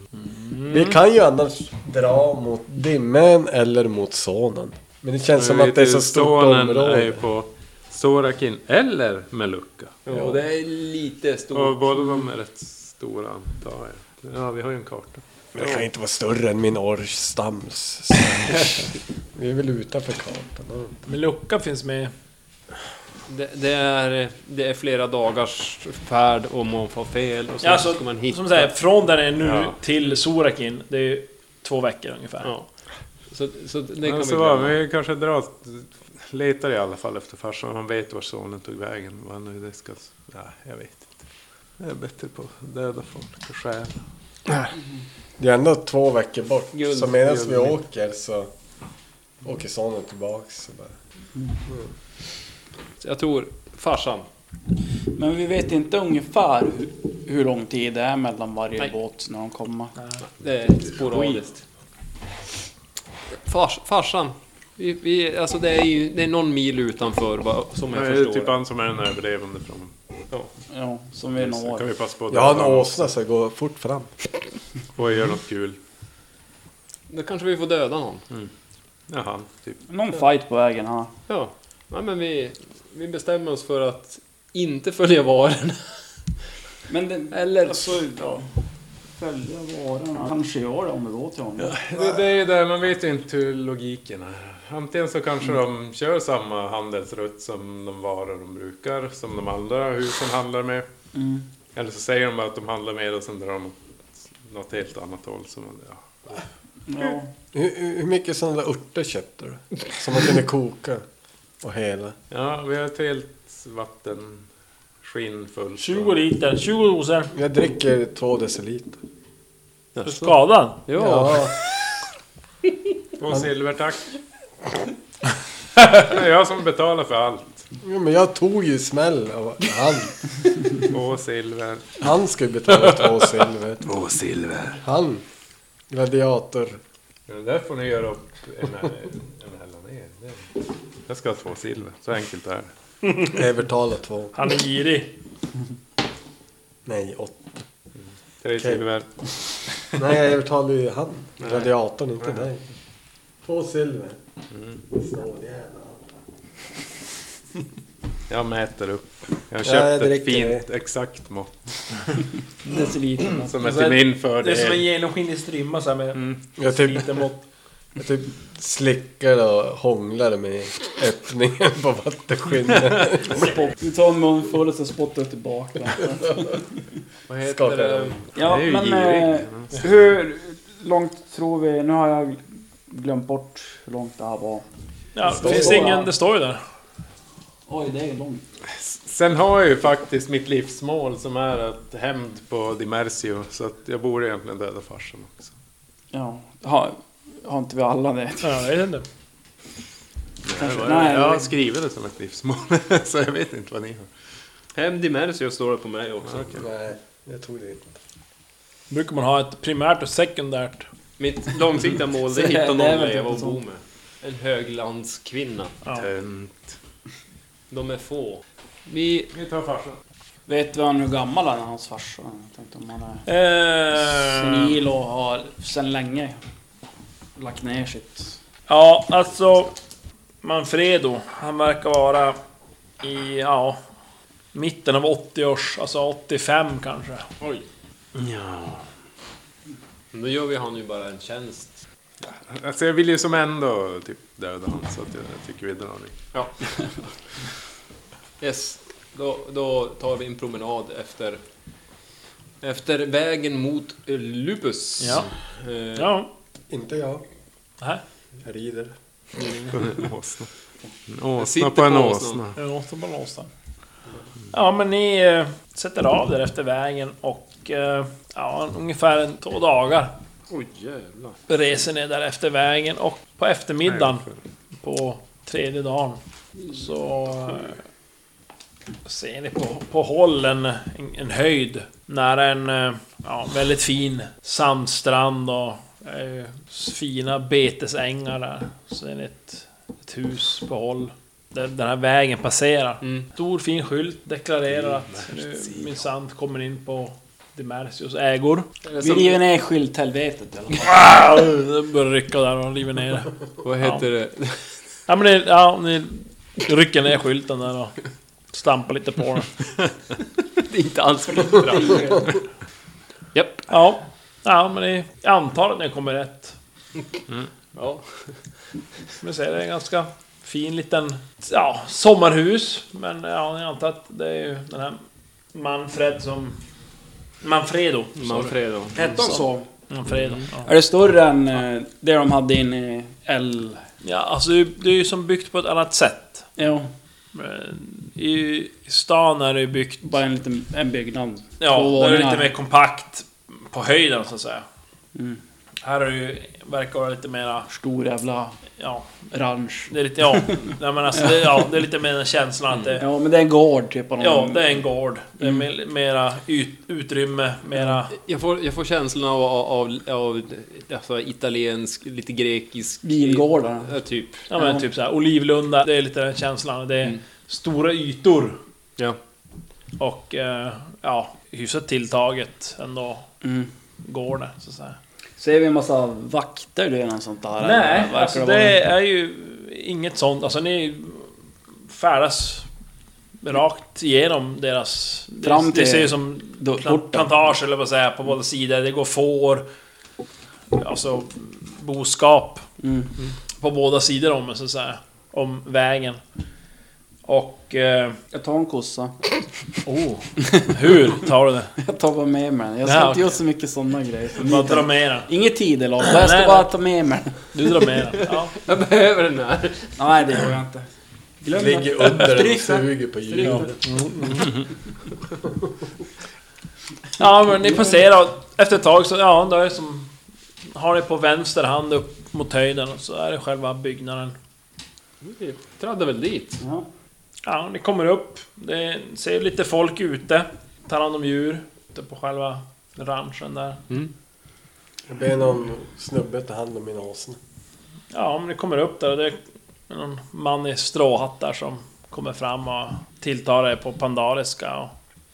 [SPEAKER 5] Mm.
[SPEAKER 4] Vi kan ju annars dra mot dimmen eller mot sonen. Men det känns som
[SPEAKER 5] Vi
[SPEAKER 4] att det är
[SPEAKER 5] vet
[SPEAKER 4] så
[SPEAKER 5] ju,
[SPEAKER 4] stort
[SPEAKER 5] sonen är ju
[SPEAKER 4] område.
[SPEAKER 5] på Sorakin eller Melucca.
[SPEAKER 3] Och det är lite
[SPEAKER 5] Och
[SPEAKER 3] stort.
[SPEAKER 5] båda de är rätt stora antar jag. Ja, vi har ju en karta.
[SPEAKER 4] Men det kan ju inte vara större än min orchstams. vi är väl utanför kartan.
[SPEAKER 2] Men luckan finns med.
[SPEAKER 3] Det, det, är, det är flera dagars färd om man får fel och sen
[SPEAKER 2] Ja, så,
[SPEAKER 3] ska man hitta.
[SPEAKER 2] Alltså, Som säger, från där ni är nu
[SPEAKER 5] Ja.
[SPEAKER 2] till Sorakin, det är ju två veckor ungefär.
[SPEAKER 3] Ja. Så, så det
[SPEAKER 5] Det
[SPEAKER 3] kan
[SPEAKER 5] kan
[SPEAKER 3] vi
[SPEAKER 5] så var,
[SPEAKER 3] glömma.
[SPEAKER 5] vi kanske drar... Letar i alla fall efter farsan. Han vet var sonen tog vägen. Vad nu det ska... Nej, jag vet inte. Jag är bättre på att döda folk och stjäla.
[SPEAKER 4] Det är ändå två veckor bort.
[SPEAKER 3] Guld.
[SPEAKER 4] så medan vi
[SPEAKER 5] Guld.
[SPEAKER 4] åker så åker sonen tillbaks. Så bara.
[SPEAKER 3] Så Jag tror farsan.
[SPEAKER 6] Men vi vet inte ungefär hur, hur lång tid det är mellan varje
[SPEAKER 3] Nej.
[SPEAKER 6] båt när de kommer.
[SPEAKER 3] Det är sporadiskt. Fars, farsan. Vi, vi, alltså det är ju det är någon mil utanför vad, som
[SPEAKER 5] Det
[SPEAKER 3] jag
[SPEAKER 5] är
[SPEAKER 3] förstår
[SPEAKER 5] typ
[SPEAKER 3] det.
[SPEAKER 5] han som är den överlevande från...
[SPEAKER 6] Ja, som vi
[SPEAKER 5] Så kan
[SPEAKER 6] når.
[SPEAKER 5] vi passa på att
[SPEAKER 4] Jag har en
[SPEAKER 5] döda honom
[SPEAKER 4] åsna så jag går fort fram.
[SPEAKER 5] Och gör något kul.
[SPEAKER 3] Då kanske vi får döda någon.
[SPEAKER 5] Jaha, typ.
[SPEAKER 6] Någon fight på vägen här.
[SPEAKER 3] Ja. Nej, men vi, vi bestämmer oss för att inte följa varen.
[SPEAKER 6] Men det,
[SPEAKER 3] Eller...
[SPEAKER 6] alltså, ja. Följa varorna. Kanske gör det om vi går till honom.
[SPEAKER 5] Det, det är ju det, man vet ju inte hur logiken är. Antingen så kanske de kör samma handelsrutt som de varor de brukar, som de andra husen handlar med. Eller så säger de bara att de handlar med och sen drar de åt något helt annat håll. Som, ja.
[SPEAKER 6] Ja.
[SPEAKER 4] Hur, hur mycket sådana där örter köpte du? Som man kunde koka och hela.
[SPEAKER 5] ja, vi har ett helt vattenskinn fullt.
[SPEAKER 2] 20 liter, 20 doser.
[SPEAKER 4] Jag dricker två deciliter.
[SPEAKER 2] Är du skadad?
[SPEAKER 4] Ja.
[SPEAKER 5] Två silver tack. Det är jag som betalar för allt.
[SPEAKER 4] ja, men jag tog ju smäll av han.
[SPEAKER 5] Två silver.
[SPEAKER 4] Han ska ju betala två silver.
[SPEAKER 5] Två silver.
[SPEAKER 4] Han. Gladiator.
[SPEAKER 5] Det där får ni göra upp en, en hälla ner. Det- Jag ska ha två silver. Så enkelt är det.
[SPEAKER 4] Övertala två.
[SPEAKER 2] Han är girig.
[SPEAKER 4] Nej, åtta.
[SPEAKER 5] Tre silver.
[SPEAKER 4] Nej, jag övertalade ju han. Gladiatorn, inte dig. Två silver.
[SPEAKER 5] Mm.
[SPEAKER 4] Snåljävel.
[SPEAKER 5] Jag mäter upp. Jag har
[SPEAKER 4] Ja,
[SPEAKER 5] köpt
[SPEAKER 4] jag
[SPEAKER 5] ett
[SPEAKER 4] dricker
[SPEAKER 5] fint exakt mått.
[SPEAKER 6] Deciliter.
[SPEAKER 5] Som är
[SPEAKER 2] Så här,
[SPEAKER 5] till
[SPEAKER 2] Det är
[SPEAKER 5] min
[SPEAKER 2] som en
[SPEAKER 5] fördel.
[SPEAKER 2] genomskinlig strimma så här med mm.
[SPEAKER 4] Jag typ,
[SPEAKER 2] lite mått.
[SPEAKER 4] jag typ slickade och hånglade med öppningen på vattenskinnet.
[SPEAKER 6] Spott. Du tar en munfull och sen spottar du tillbaka.
[SPEAKER 5] Vad heter
[SPEAKER 4] Skakar
[SPEAKER 5] det?
[SPEAKER 4] den.
[SPEAKER 6] Ja,
[SPEAKER 5] Det är ju
[SPEAKER 6] men eh,
[SPEAKER 5] girigt.
[SPEAKER 6] hur långt tror vi... Nu har jag glömt bort hur långt det här var.
[SPEAKER 2] Ja,
[SPEAKER 6] står
[SPEAKER 2] det finns
[SPEAKER 6] bara-
[SPEAKER 2] ingen... Det står ju där.
[SPEAKER 6] Oj, det är ju långt.
[SPEAKER 5] Sen har jag ju faktiskt mitt livsmål som är att hämnd på Dimersio. Så att jag borde egentligen döda farsan också.
[SPEAKER 6] Ja. Har, har inte vi alla det?
[SPEAKER 2] Ja, jag vet inte.
[SPEAKER 6] Kanske.
[SPEAKER 5] Nej,
[SPEAKER 6] Nej.
[SPEAKER 5] jag har skrivit det som ett livsmål. så jag vet inte vad ni har.
[SPEAKER 3] Hem Dimersio står det på mig också.
[SPEAKER 4] Nej, jag tog det inte.
[SPEAKER 2] Brukar man ha ett primärt och sekundärt.
[SPEAKER 3] Mitt långsiktiga mål det är att
[SPEAKER 6] Det är
[SPEAKER 3] hitta någon
[SPEAKER 6] väl
[SPEAKER 3] att
[SPEAKER 6] typ
[SPEAKER 3] leva och
[SPEAKER 6] sånt.
[SPEAKER 3] bo med. En höglandskvinna.
[SPEAKER 5] Tönt.
[SPEAKER 3] De är få. Vi...
[SPEAKER 5] Vi tar farsan.
[SPEAKER 6] Vet vi han hur gammal han är, hans farsa? Jag tänkte om han är
[SPEAKER 2] Eh,
[SPEAKER 6] senil och har sen länge lagt ner sitt...
[SPEAKER 2] ja, alltså... Manfredo, han verkar vara i, ja... Mitten av 80-års, alltså 85 kanske.
[SPEAKER 3] Oj.
[SPEAKER 5] Ja.
[SPEAKER 3] Men Då gör vi han ju bara en tjänst.
[SPEAKER 5] Alltså jag vill ju som ändå typ döda honom. Så att jag tycker vi drar nu.
[SPEAKER 3] Ja. yes. Då, då tar vi en promenad efter... Efter vägen mot eh, Lupus.
[SPEAKER 2] Ja.
[SPEAKER 3] Eh,
[SPEAKER 2] Ja.
[SPEAKER 4] Inte jag.
[SPEAKER 2] Nej.
[SPEAKER 4] Jag rider.
[SPEAKER 5] En åsna. En
[SPEAKER 3] sitter
[SPEAKER 5] åsna på en
[SPEAKER 3] på åsnan.
[SPEAKER 5] åsna.
[SPEAKER 2] Det låter bara låsta. Ja, men ni eh, sätter av där efter vägen och... eh, Ja, ungefär en, två dagar
[SPEAKER 3] Oj jävlar.
[SPEAKER 2] reser ni där efter vägen och på eftermiddagen på tredje dagen så eh, ser ni på, på håll en, en, en höjd nära en eh, ja, väldigt fin sandstrand och eh, fina betesängar där. Ser ni ett, ett hus på håll där den här vägen passerar. Stor fin skylt deklarerar att nu minsann kommer ni in på Dimersios ägor.
[SPEAKER 6] Vi river ner skylthelvetet i alla fall.
[SPEAKER 2] Ah, Den börjar rycka där och river ner det.
[SPEAKER 3] Vad heter det?
[SPEAKER 2] Ja men det, ja, ni rycker ner skylten där och stampar lite på den.
[SPEAKER 3] det är inte alls fritt fram. Japp.
[SPEAKER 2] Ja, ja men ni jag antar att ni kommer rätt.
[SPEAKER 3] Ja.
[SPEAKER 2] Som jag säger, det är en ganska fin liten ja, sommarhus. Men ja, jag antar att det är ju den här Manfred som... Manfredo. sorry.
[SPEAKER 3] Manfredo.
[SPEAKER 6] Hette han så?
[SPEAKER 2] Manfredo. Ja.
[SPEAKER 6] Är det större än eh, det de hade inne i L...
[SPEAKER 2] ja, alltså det är ju- det är ju som byggt på ett annat sätt.
[SPEAKER 6] Ja,
[SPEAKER 2] Eh, I, i stan är det ju byggt
[SPEAKER 6] bara en liten en byggnad.
[SPEAKER 2] Ja,
[SPEAKER 6] Två
[SPEAKER 2] då är det
[SPEAKER 6] våningar.
[SPEAKER 2] lite mer kompakt på höjden så att säga.
[SPEAKER 6] Mm.
[SPEAKER 2] Här är det ju, verkar vara lite mera,
[SPEAKER 6] Stor jävla
[SPEAKER 2] ja,
[SPEAKER 6] ranch.
[SPEAKER 2] det är lite, ja, nej, men alltså, det, ja, det är lite mer den känslan att det,
[SPEAKER 6] Ja, men det är en gård typ. av någon-
[SPEAKER 2] ja, det är en gård. Det är
[SPEAKER 6] Mm.
[SPEAKER 2] mer- mera ut, utrymme, mera,
[SPEAKER 3] Jag får, jag får känslan av, av, av, av alltså, italiensk, lite grekisk...
[SPEAKER 6] Vingårdar.
[SPEAKER 3] Ja, typ.
[SPEAKER 2] ja men typ såhär olivlunda, det är lite den känslan. Det är
[SPEAKER 6] Mm.
[SPEAKER 2] stora ytor
[SPEAKER 3] Ja.
[SPEAKER 2] och, eh, ja, hyfsat tilltaget ändå,
[SPEAKER 6] Mm.
[SPEAKER 2] går det så att säga.
[SPEAKER 6] Ser vi en massa vakter eller något sånt där? eller
[SPEAKER 2] Nej,
[SPEAKER 6] verkar
[SPEAKER 2] alltså
[SPEAKER 6] vara-
[SPEAKER 2] det är ju inget sånt. Alltså ni färdas rakt igenom deras...
[SPEAKER 6] Fram
[SPEAKER 2] det, det
[SPEAKER 6] till
[SPEAKER 2] ser ju som
[SPEAKER 6] då-
[SPEAKER 2] plant-
[SPEAKER 6] porten.
[SPEAKER 2] plantage eller vad säga, på båda sidor. Det går får. Alltså boskap.
[SPEAKER 6] Mm.
[SPEAKER 2] På båda sidor om, så att säga. Om vägen. Och... Eh,
[SPEAKER 6] Jag tar en kossa.
[SPEAKER 2] oh, hur tar du det?
[SPEAKER 6] Jag tar bara med mig den. Jag ska
[SPEAKER 2] Ja,
[SPEAKER 6] inte
[SPEAKER 2] okej.
[SPEAKER 6] göra så mycket sådana grejer.
[SPEAKER 2] Bara dra med den.
[SPEAKER 6] Inget tidelag, bara jag
[SPEAKER 2] Nej,
[SPEAKER 6] ska
[SPEAKER 2] nej.
[SPEAKER 6] bara ta med mig den.
[SPEAKER 2] Du drar med den. Ja.
[SPEAKER 3] Jag behöver den här.
[SPEAKER 6] Nej, det gör jag inte. Glöm det.
[SPEAKER 7] Ligger under den och
[SPEAKER 6] Stryk den.
[SPEAKER 7] suger på
[SPEAKER 6] Stryk den.
[SPEAKER 7] hjulet.
[SPEAKER 2] Ja, men ni passerar och efter ett tag så, ja, då är det som... Har ni på vänster hand upp mot höjden och så är det själva byggnaden.
[SPEAKER 3] Vi traddar väl dit.
[SPEAKER 6] Ja.
[SPEAKER 2] Ja, ni kommer upp. Det ser lite folk ute. Tar hand om djur. Ute på själva ranchen där.
[SPEAKER 4] Jag ber någon snubbe ta hand om min åsna.
[SPEAKER 2] Ja, om ni kommer upp där och det är någon man i stråhatt där som kommer fram och tilltar er på pandariska. Och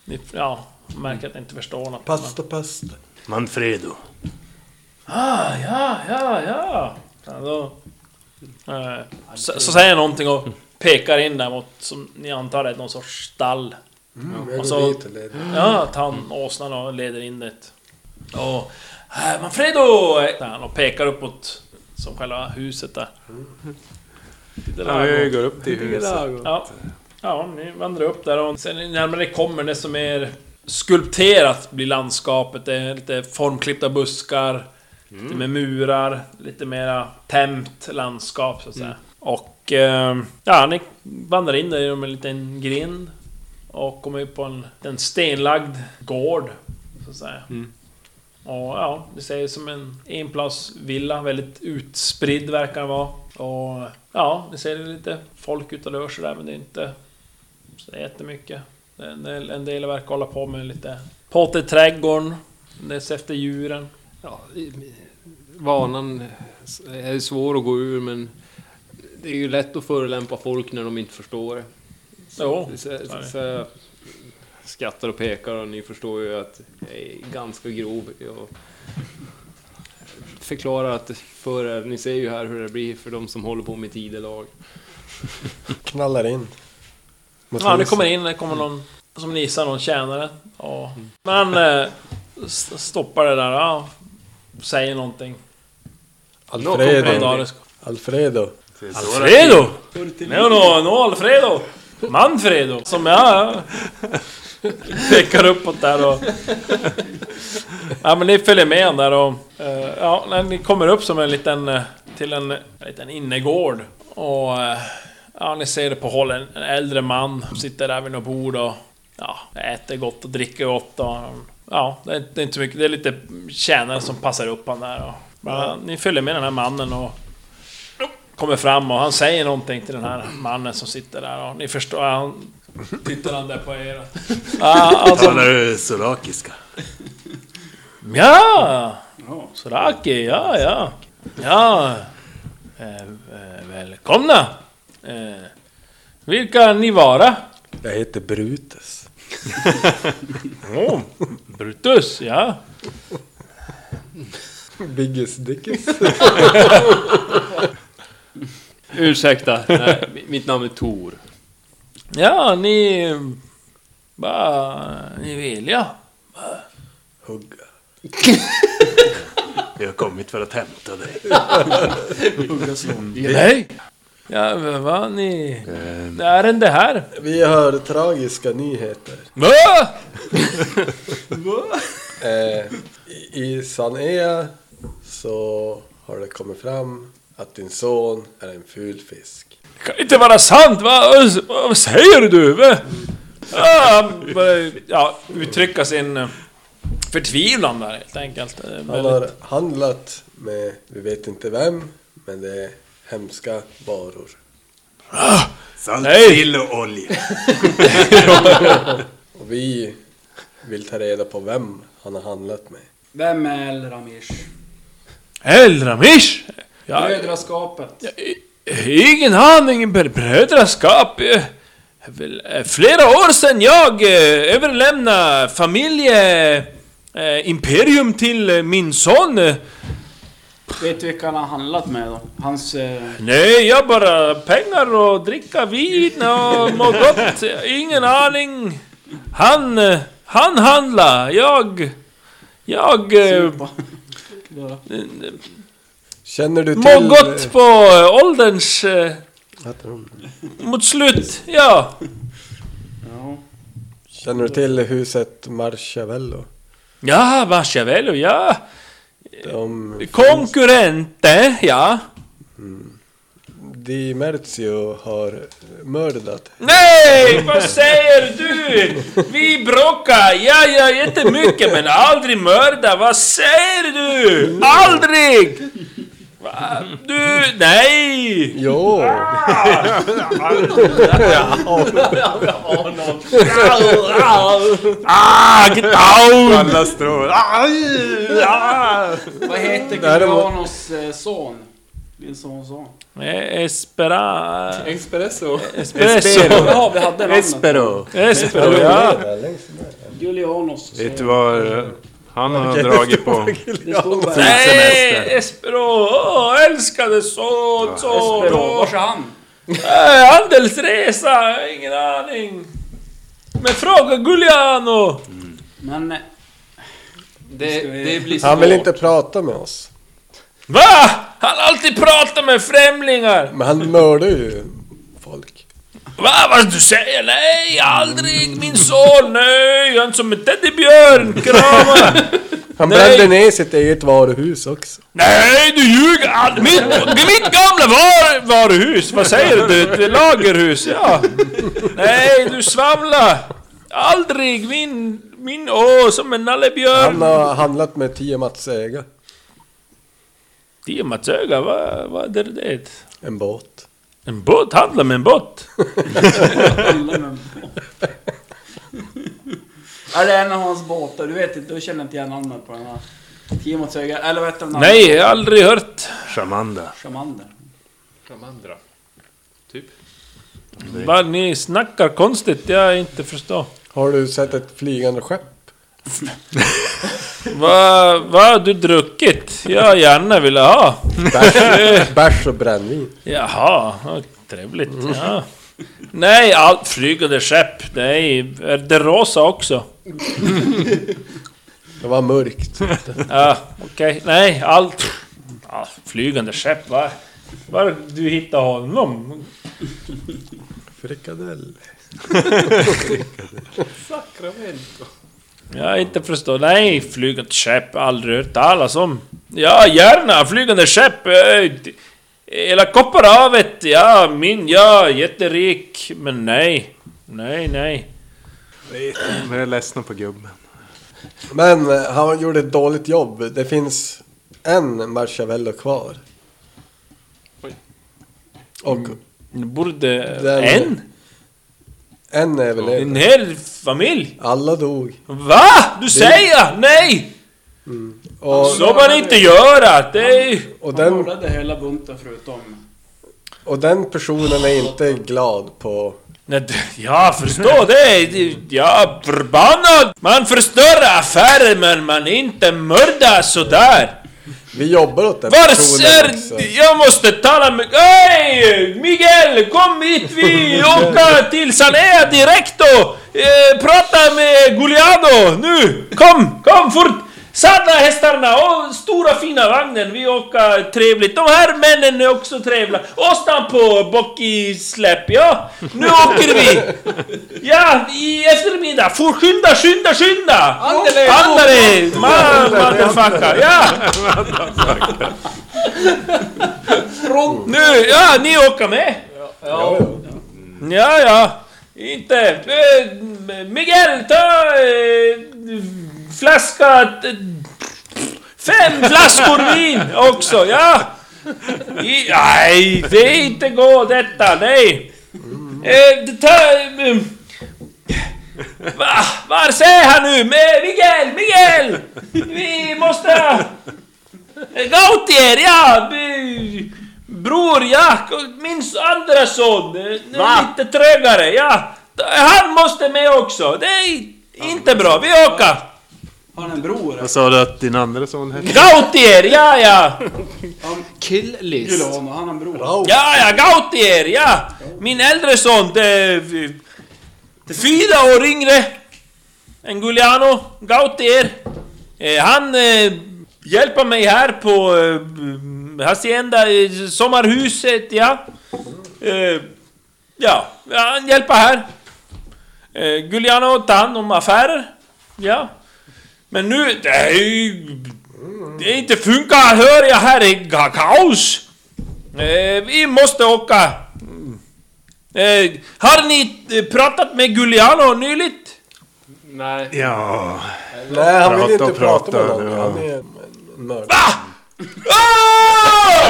[SPEAKER 2] ni, ja, märker att ni inte förstår något.
[SPEAKER 7] Pasta, pasta.
[SPEAKER 4] Mm.
[SPEAKER 5] Manfredo.
[SPEAKER 2] Ah, ja, ja, ja. ja då, eh, så, så säger jag någonting och pekar in där mot, som ni antar är någon sorts stall.
[SPEAKER 7] Jag
[SPEAKER 2] Och
[SPEAKER 7] går
[SPEAKER 2] så-
[SPEAKER 7] dit och leder.
[SPEAKER 2] Ja, tar han åsnan och leder in det. Och... "Här, Manfredo! säger Han och pekar uppåt, som själva huset där.
[SPEAKER 5] Ja, jag går upp till huset.
[SPEAKER 2] Ja. ja, ni vandrar upp där och sen närmare ni kommer desto mer skulpterat blir landskapet. Det är lite formklippta buskar, lite mer murar, lite mera tämt landskap så att säga. Och eh, ja, ni vandrar in där genom en liten grind och kommer upp på en, en stenlagd gård så att säga. Och ja, det ser ut som en enplansvilla. Väldigt utspridd verkar den vara. Och ja, ni ser lite folk ute och rör sig där, men det är inte så jättemycket. En del, en del verkar hålla på med lite påt i trädgården. Det ser efter djuren.
[SPEAKER 3] Ja, vanan är svår att gå ur men det är ju lätt att förolämpa folk när de inte förstår det.
[SPEAKER 2] Jo,
[SPEAKER 3] Så,
[SPEAKER 2] så är det.
[SPEAKER 3] så jag skrattar och pekar och ni förstår ju att jag är ganska grov. Jag förklarar att för er, ni ser ju här hur det blir för de som håller på med tidelag.
[SPEAKER 4] Knallar in. Mot
[SPEAKER 2] Ja, det
[SPEAKER 4] huset.
[SPEAKER 2] kommer in, det kommer någon som ni gissar, någon tjänare. Ja. Men han eh, st- stoppar det där, ja, säger någonting.
[SPEAKER 4] Alfredo.
[SPEAKER 2] Alfredo!
[SPEAKER 4] Alfredo.
[SPEAKER 2] Alfredo! No, no, no, Alfredo! Manfredo! Som jag... Pekar uppåt där och... Ja men ni följer med han där och... eh, Ja, när ni kommer upp som en liten... eh, Till en, en liten innergård. Och... eh, Ja, ni ser det på håll. En, en äldre man som sitter där vid något bord och... Ja, äter gott och dricker gott och... Ja, det är, det är inte så mycket. Det är lite tjänare som passar upp han där och... Men, ni följer med den här mannen och kommer fram och han säger någonting till den här mannen som sitter där och ni förstår, han... Tittar han där på er och... Ja, alltså,
[SPEAKER 5] Talar du solakiska?
[SPEAKER 2] ja! Soraki, ja, ja. Ja. Eh, eh, välkomna! Eh, vilka ni vara?
[SPEAKER 4] Jag heter Brutus.
[SPEAKER 2] Oh, Brutus, ja.
[SPEAKER 4] Biggest Dickes.
[SPEAKER 3] Ursäkta, nej, mitt namn är Tor.
[SPEAKER 2] Ja, ni... Vad ni vill, ja.
[SPEAKER 4] Hugga.
[SPEAKER 5] Jag har kommit för att hämta dig.
[SPEAKER 2] Nej! Ja, vad ni... Det är det här.
[SPEAKER 4] Vi har tragiska nyheter.
[SPEAKER 2] Va?
[SPEAKER 4] Eh, i- I Sanea så har det kommit fram att din son är en ful fisk.
[SPEAKER 2] kan inte vara sant! Va? Vad- Vad säger du? Va? Ja, han börjar, ja, uttrycka sin eh, förtvivlan där helt enkelt. Eh,
[SPEAKER 4] Han
[SPEAKER 2] väldigt-
[SPEAKER 4] har handlat med, vi vet inte vem, men det är hemska varor.
[SPEAKER 5] Salt,
[SPEAKER 2] Nej.
[SPEAKER 5] sill och olja.
[SPEAKER 4] Och vi vill ta reda på vem han har handlat med.
[SPEAKER 6] Vem är El Ramish?
[SPEAKER 2] Eldramish! Ja,
[SPEAKER 6] Brödraskapet.
[SPEAKER 2] eh, ingen aning, br- brödraskap. eh, väl, eh, Flera år sedan jag eh, överlämnade familje... eh, Imperium till eh, min son. eh.
[SPEAKER 6] Vet du vilka han har handlat med då? Hans... Eh,
[SPEAKER 2] Nej, jag bara pengar och dricka vin och må gott. Ingen aning. Han... eh, Han handla. Jag... Jag... eh,
[SPEAKER 6] Bara-
[SPEAKER 2] eh,
[SPEAKER 4] Känner du till...
[SPEAKER 2] Moggot på eh, ålderns... eh,
[SPEAKER 4] Heter hon?
[SPEAKER 2] Mot slut, ja.
[SPEAKER 6] Ja.
[SPEAKER 4] Känner du till huset Marciavello?
[SPEAKER 2] Ja, Machiavello, ja.
[SPEAKER 4] De...
[SPEAKER 2] Konkurrente, ja.
[SPEAKER 4] Di Merzio har mördat.
[SPEAKER 2] Nej, vad säger du? Vi bråkar, ja, ja, jättemycket, men aldrig mörda. Vad säger du? Aldrig! Va? Du, nej!
[SPEAKER 4] Jo!
[SPEAKER 2] Ah, get down!
[SPEAKER 5] Alla strål.
[SPEAKER 6] Vad heter
[SPEAKER 4] Däremot-
[SPEAKER 6] Giulianos eh, son? Din sons son.
[SPEAKER 2] Eh, Espera...
[SPEAKER 3] Espresso.
[SPEAKER 2] Espresso.
[SPEAKER 6] Ja, vi hade namnet.
[SPEAKER 7] Espero.
[SPEAKER 2] Espero, ja.
[SPEAKER 6] Giulianos son.
[SPEAKER 5] Vet du vad eh, han har dragit på?
[SPEAKER 6] Det stod bara...
[SPEAKER 2] Nej,
[SPEAKER 5] semester.
[SPEAKER 2] Espero! Åh, älskade son, son!
[SPEAKER 6] Espero.
[SPEAKER 2] åh.
[SPEAKER 6] Vars är han?
[SPEAKER 2] Eh, handelsresa, ingen aning. Men fråga Giuliano!
[SPEAKER 6] Men... eh,
[SPEAKER 3] Det,
[SPEAKER 6] Ska vi-
[SPEAKER 3] det blir svårt.
[SPEAKER 4] Han vill inte prata med oss.
[SPEAKER 2] Va? Han alltid pratar med främlingar!
[SPEAKER 4] Men han mördar ju folk.
[SPEAKER 2] Va? Vad du säger? Nej, aldrig! Min son! Nej, han är som en teddybjörn! Krama!
[SPEAKER 4] Han
[SPEAKER 2] Nej.
[SPEAKER 4] brände ner sitt eget varuhus också.
[SPEAKER 2] Nej, du ljuger! All- Mitt, mitt gamla var, varuhus! Vad säger du? Ett lagerhus, ja. Nej, du svamlar! Aldrig! Min... Min... Åh, som en
[SPEAKER 4] Han
[SPEAKER 2] nallebjörn!
[SPEAKER 4] har handlat med Tiamats äga.
[SPEAKER 2] Tiamatsöga, vad, vad är det?
[SPEAKER 4] En båt.
[SPEAKER 2] En båt? Handla med en båt?
[SPEAKER 6] Alla med Ja, det är en av hans båtar. Du vet inte, du känner inte igen namnet på den här. Timot Söga, eller vad heter den? andra?
[SPEAKER 2] Nej, jag har aldrig hört.
[SPEAKER 5] Charmanda.
[SPEAKER 6] Charmander.
[SPEAKER 3] Ramandra. Typ.
[SPEAKER 2] Vad ni snackar konstigt, jag inte förstår.
[SPEAKER 4] Har du sett ett flygande skepp?
[SPEAKER 2] Vad vad har du druckit? Jag gärna ville ha.
[SPEAKER 4] Bärs, bärs och brännvin.
[SPEAKER 2] Jaha, vad trevligt. Ja. Nej, allt flygande skepp. Nej, är det rosa också?
[SPEAKER 4] Det var mörkt.
[SPEAKER 2] Ja, okej. Nej, allt... Ja, flygande skepp, va? Var du hittar honom?
[SPEAKER 4] Frikadell.
[SPEAKER 2] Jag inte förstår. Nej, flygande skepp. Aldrig hört talas om. Ja, gärna. Flygande skepp. eh, d- Hela Kopparhavet. Ja, min. Ja, jätterik. Men nej. Nej, nej.
[SPEAKER 5] Jag börjar ledsna på gubben.
[SPEAKER 4] Men eh, han gjorde ett dåligt jobb. Det finns en Marciavello kvar.
[SPEAKER 3] Oj.
[SPEAKER 4] Och
[SPEAKER 2] Det Borde...
[SPEAKER 4] Den-
[SPEAKER 2] En?
[SPEAKER 4] en överlevde.
[SPEAKER 2] En hel familj?
[SPEAKER 4] Alla dog.
[SPEAKER 2] Va? Du säger? Nej!
[SPEAKER 4] Och,
[SPEAKER 2] Så man inte göra! Det är...
[SPEAKER 4] och,
[SPEAKER 6] Han
[SPEAKER 4] den,
[SPEAKER 6] mördade hela bunten förutom...
[SPEAKER 4] och den personen är inte glad på...
[SPEAKER 2] Nej, det- Jag förstår det! Det- Jag är förbannad! Man förstör affärer men man inte mördar sådär!
[SPEAKER 4] Vi jobbar åt den personen också.
[SPEAKER 2] Varför? Jag måste tala med... Hej! Miguel! Kom hit! Vi åker till Salea direkt då! Eh, prata med Giuliano nu! Kom, kom fort! Sadla hästarna och stora fina vagnen. Vi åker trevligt. De här männen är också trevliga. Åsnan på Bockisläpp, ja. Nu åker vi! Ja, i eftermiddag. For skynda, skynda, skynda!
[SPEAKER 6] Andele!
[SPEAKER 2] Andale! Ma- Motherfucker! Ja! Nu, ja, ni åker med? Ja, ja. Inte... eh, Miguel, ta... eh, Flaska... eh, Fem flaskor vin också, ja! I- Nej, det är inte gå detta, nej! Eh, ta... eh, Va, var säger han nu? Men Miguel, Miguel! Vi måste... Gautier, ja! b- Bror, ja! Min andra son! eh, Lite trögare, ja! Han måste med också! Det är inte bra, vi åker!
[SPEAKER 6] Har han en bror?
[SPEAKER 5] Vad sa du att din andra son hette?
[SPEAKER 2] Gautier, ja ja!
[SPEAKER 3] Kill list.
[SPEAKER 6] Giuliano, han har en bror.
[SPEAKER 2] Ja ja, Gautier, ja! Min äldre son, det... är- det är fyra år yngre än Giuliano, Gautier. Eh, Han eh, hjälper mig här på eh, hacienda, eh, sommarhuset, ja. Eh, ja, han hjälper här. Eh, Giuliano tar hand om affärer. Ja. Men nu, det är ju... Det inte funkar, hör jag här, är ka- kaos. Eh, vi måste åka. Eh, har ni eh, pratat med Giuliano nyligt?
[SPEAKER 3] Nej.
[SPEAKER 5] Ja,
[SPEAKER 4] Nej, han vill
[SPEAKER 5] Prata
[SPEAKER 4] inte
[SPEAKER 5] och
[SPEAKER 4] prata med
[SPEAKER 5] prata,
[SPEAKER 4] någon.
[SPEAKER 5] ja.
[SPEAKER 4] Han är en en mördare.
[SPEAKER 2] Ah!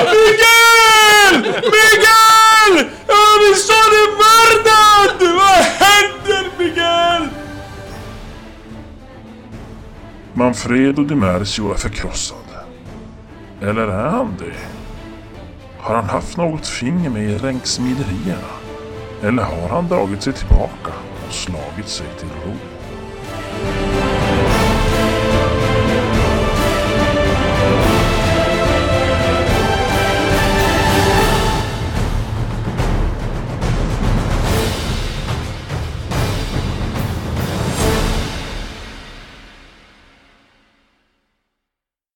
[SPEAKER 2] Miguel! Miguel! Ja, min son är mördad! Vad händer Miguel?
[SPEAKER 1] Manfredo Di Mercio är förkrossad. Eller är han det? Har han haft något finger med i ränksmiderierna? Eller har han dragit sig tillbaka och slagit sig till ro?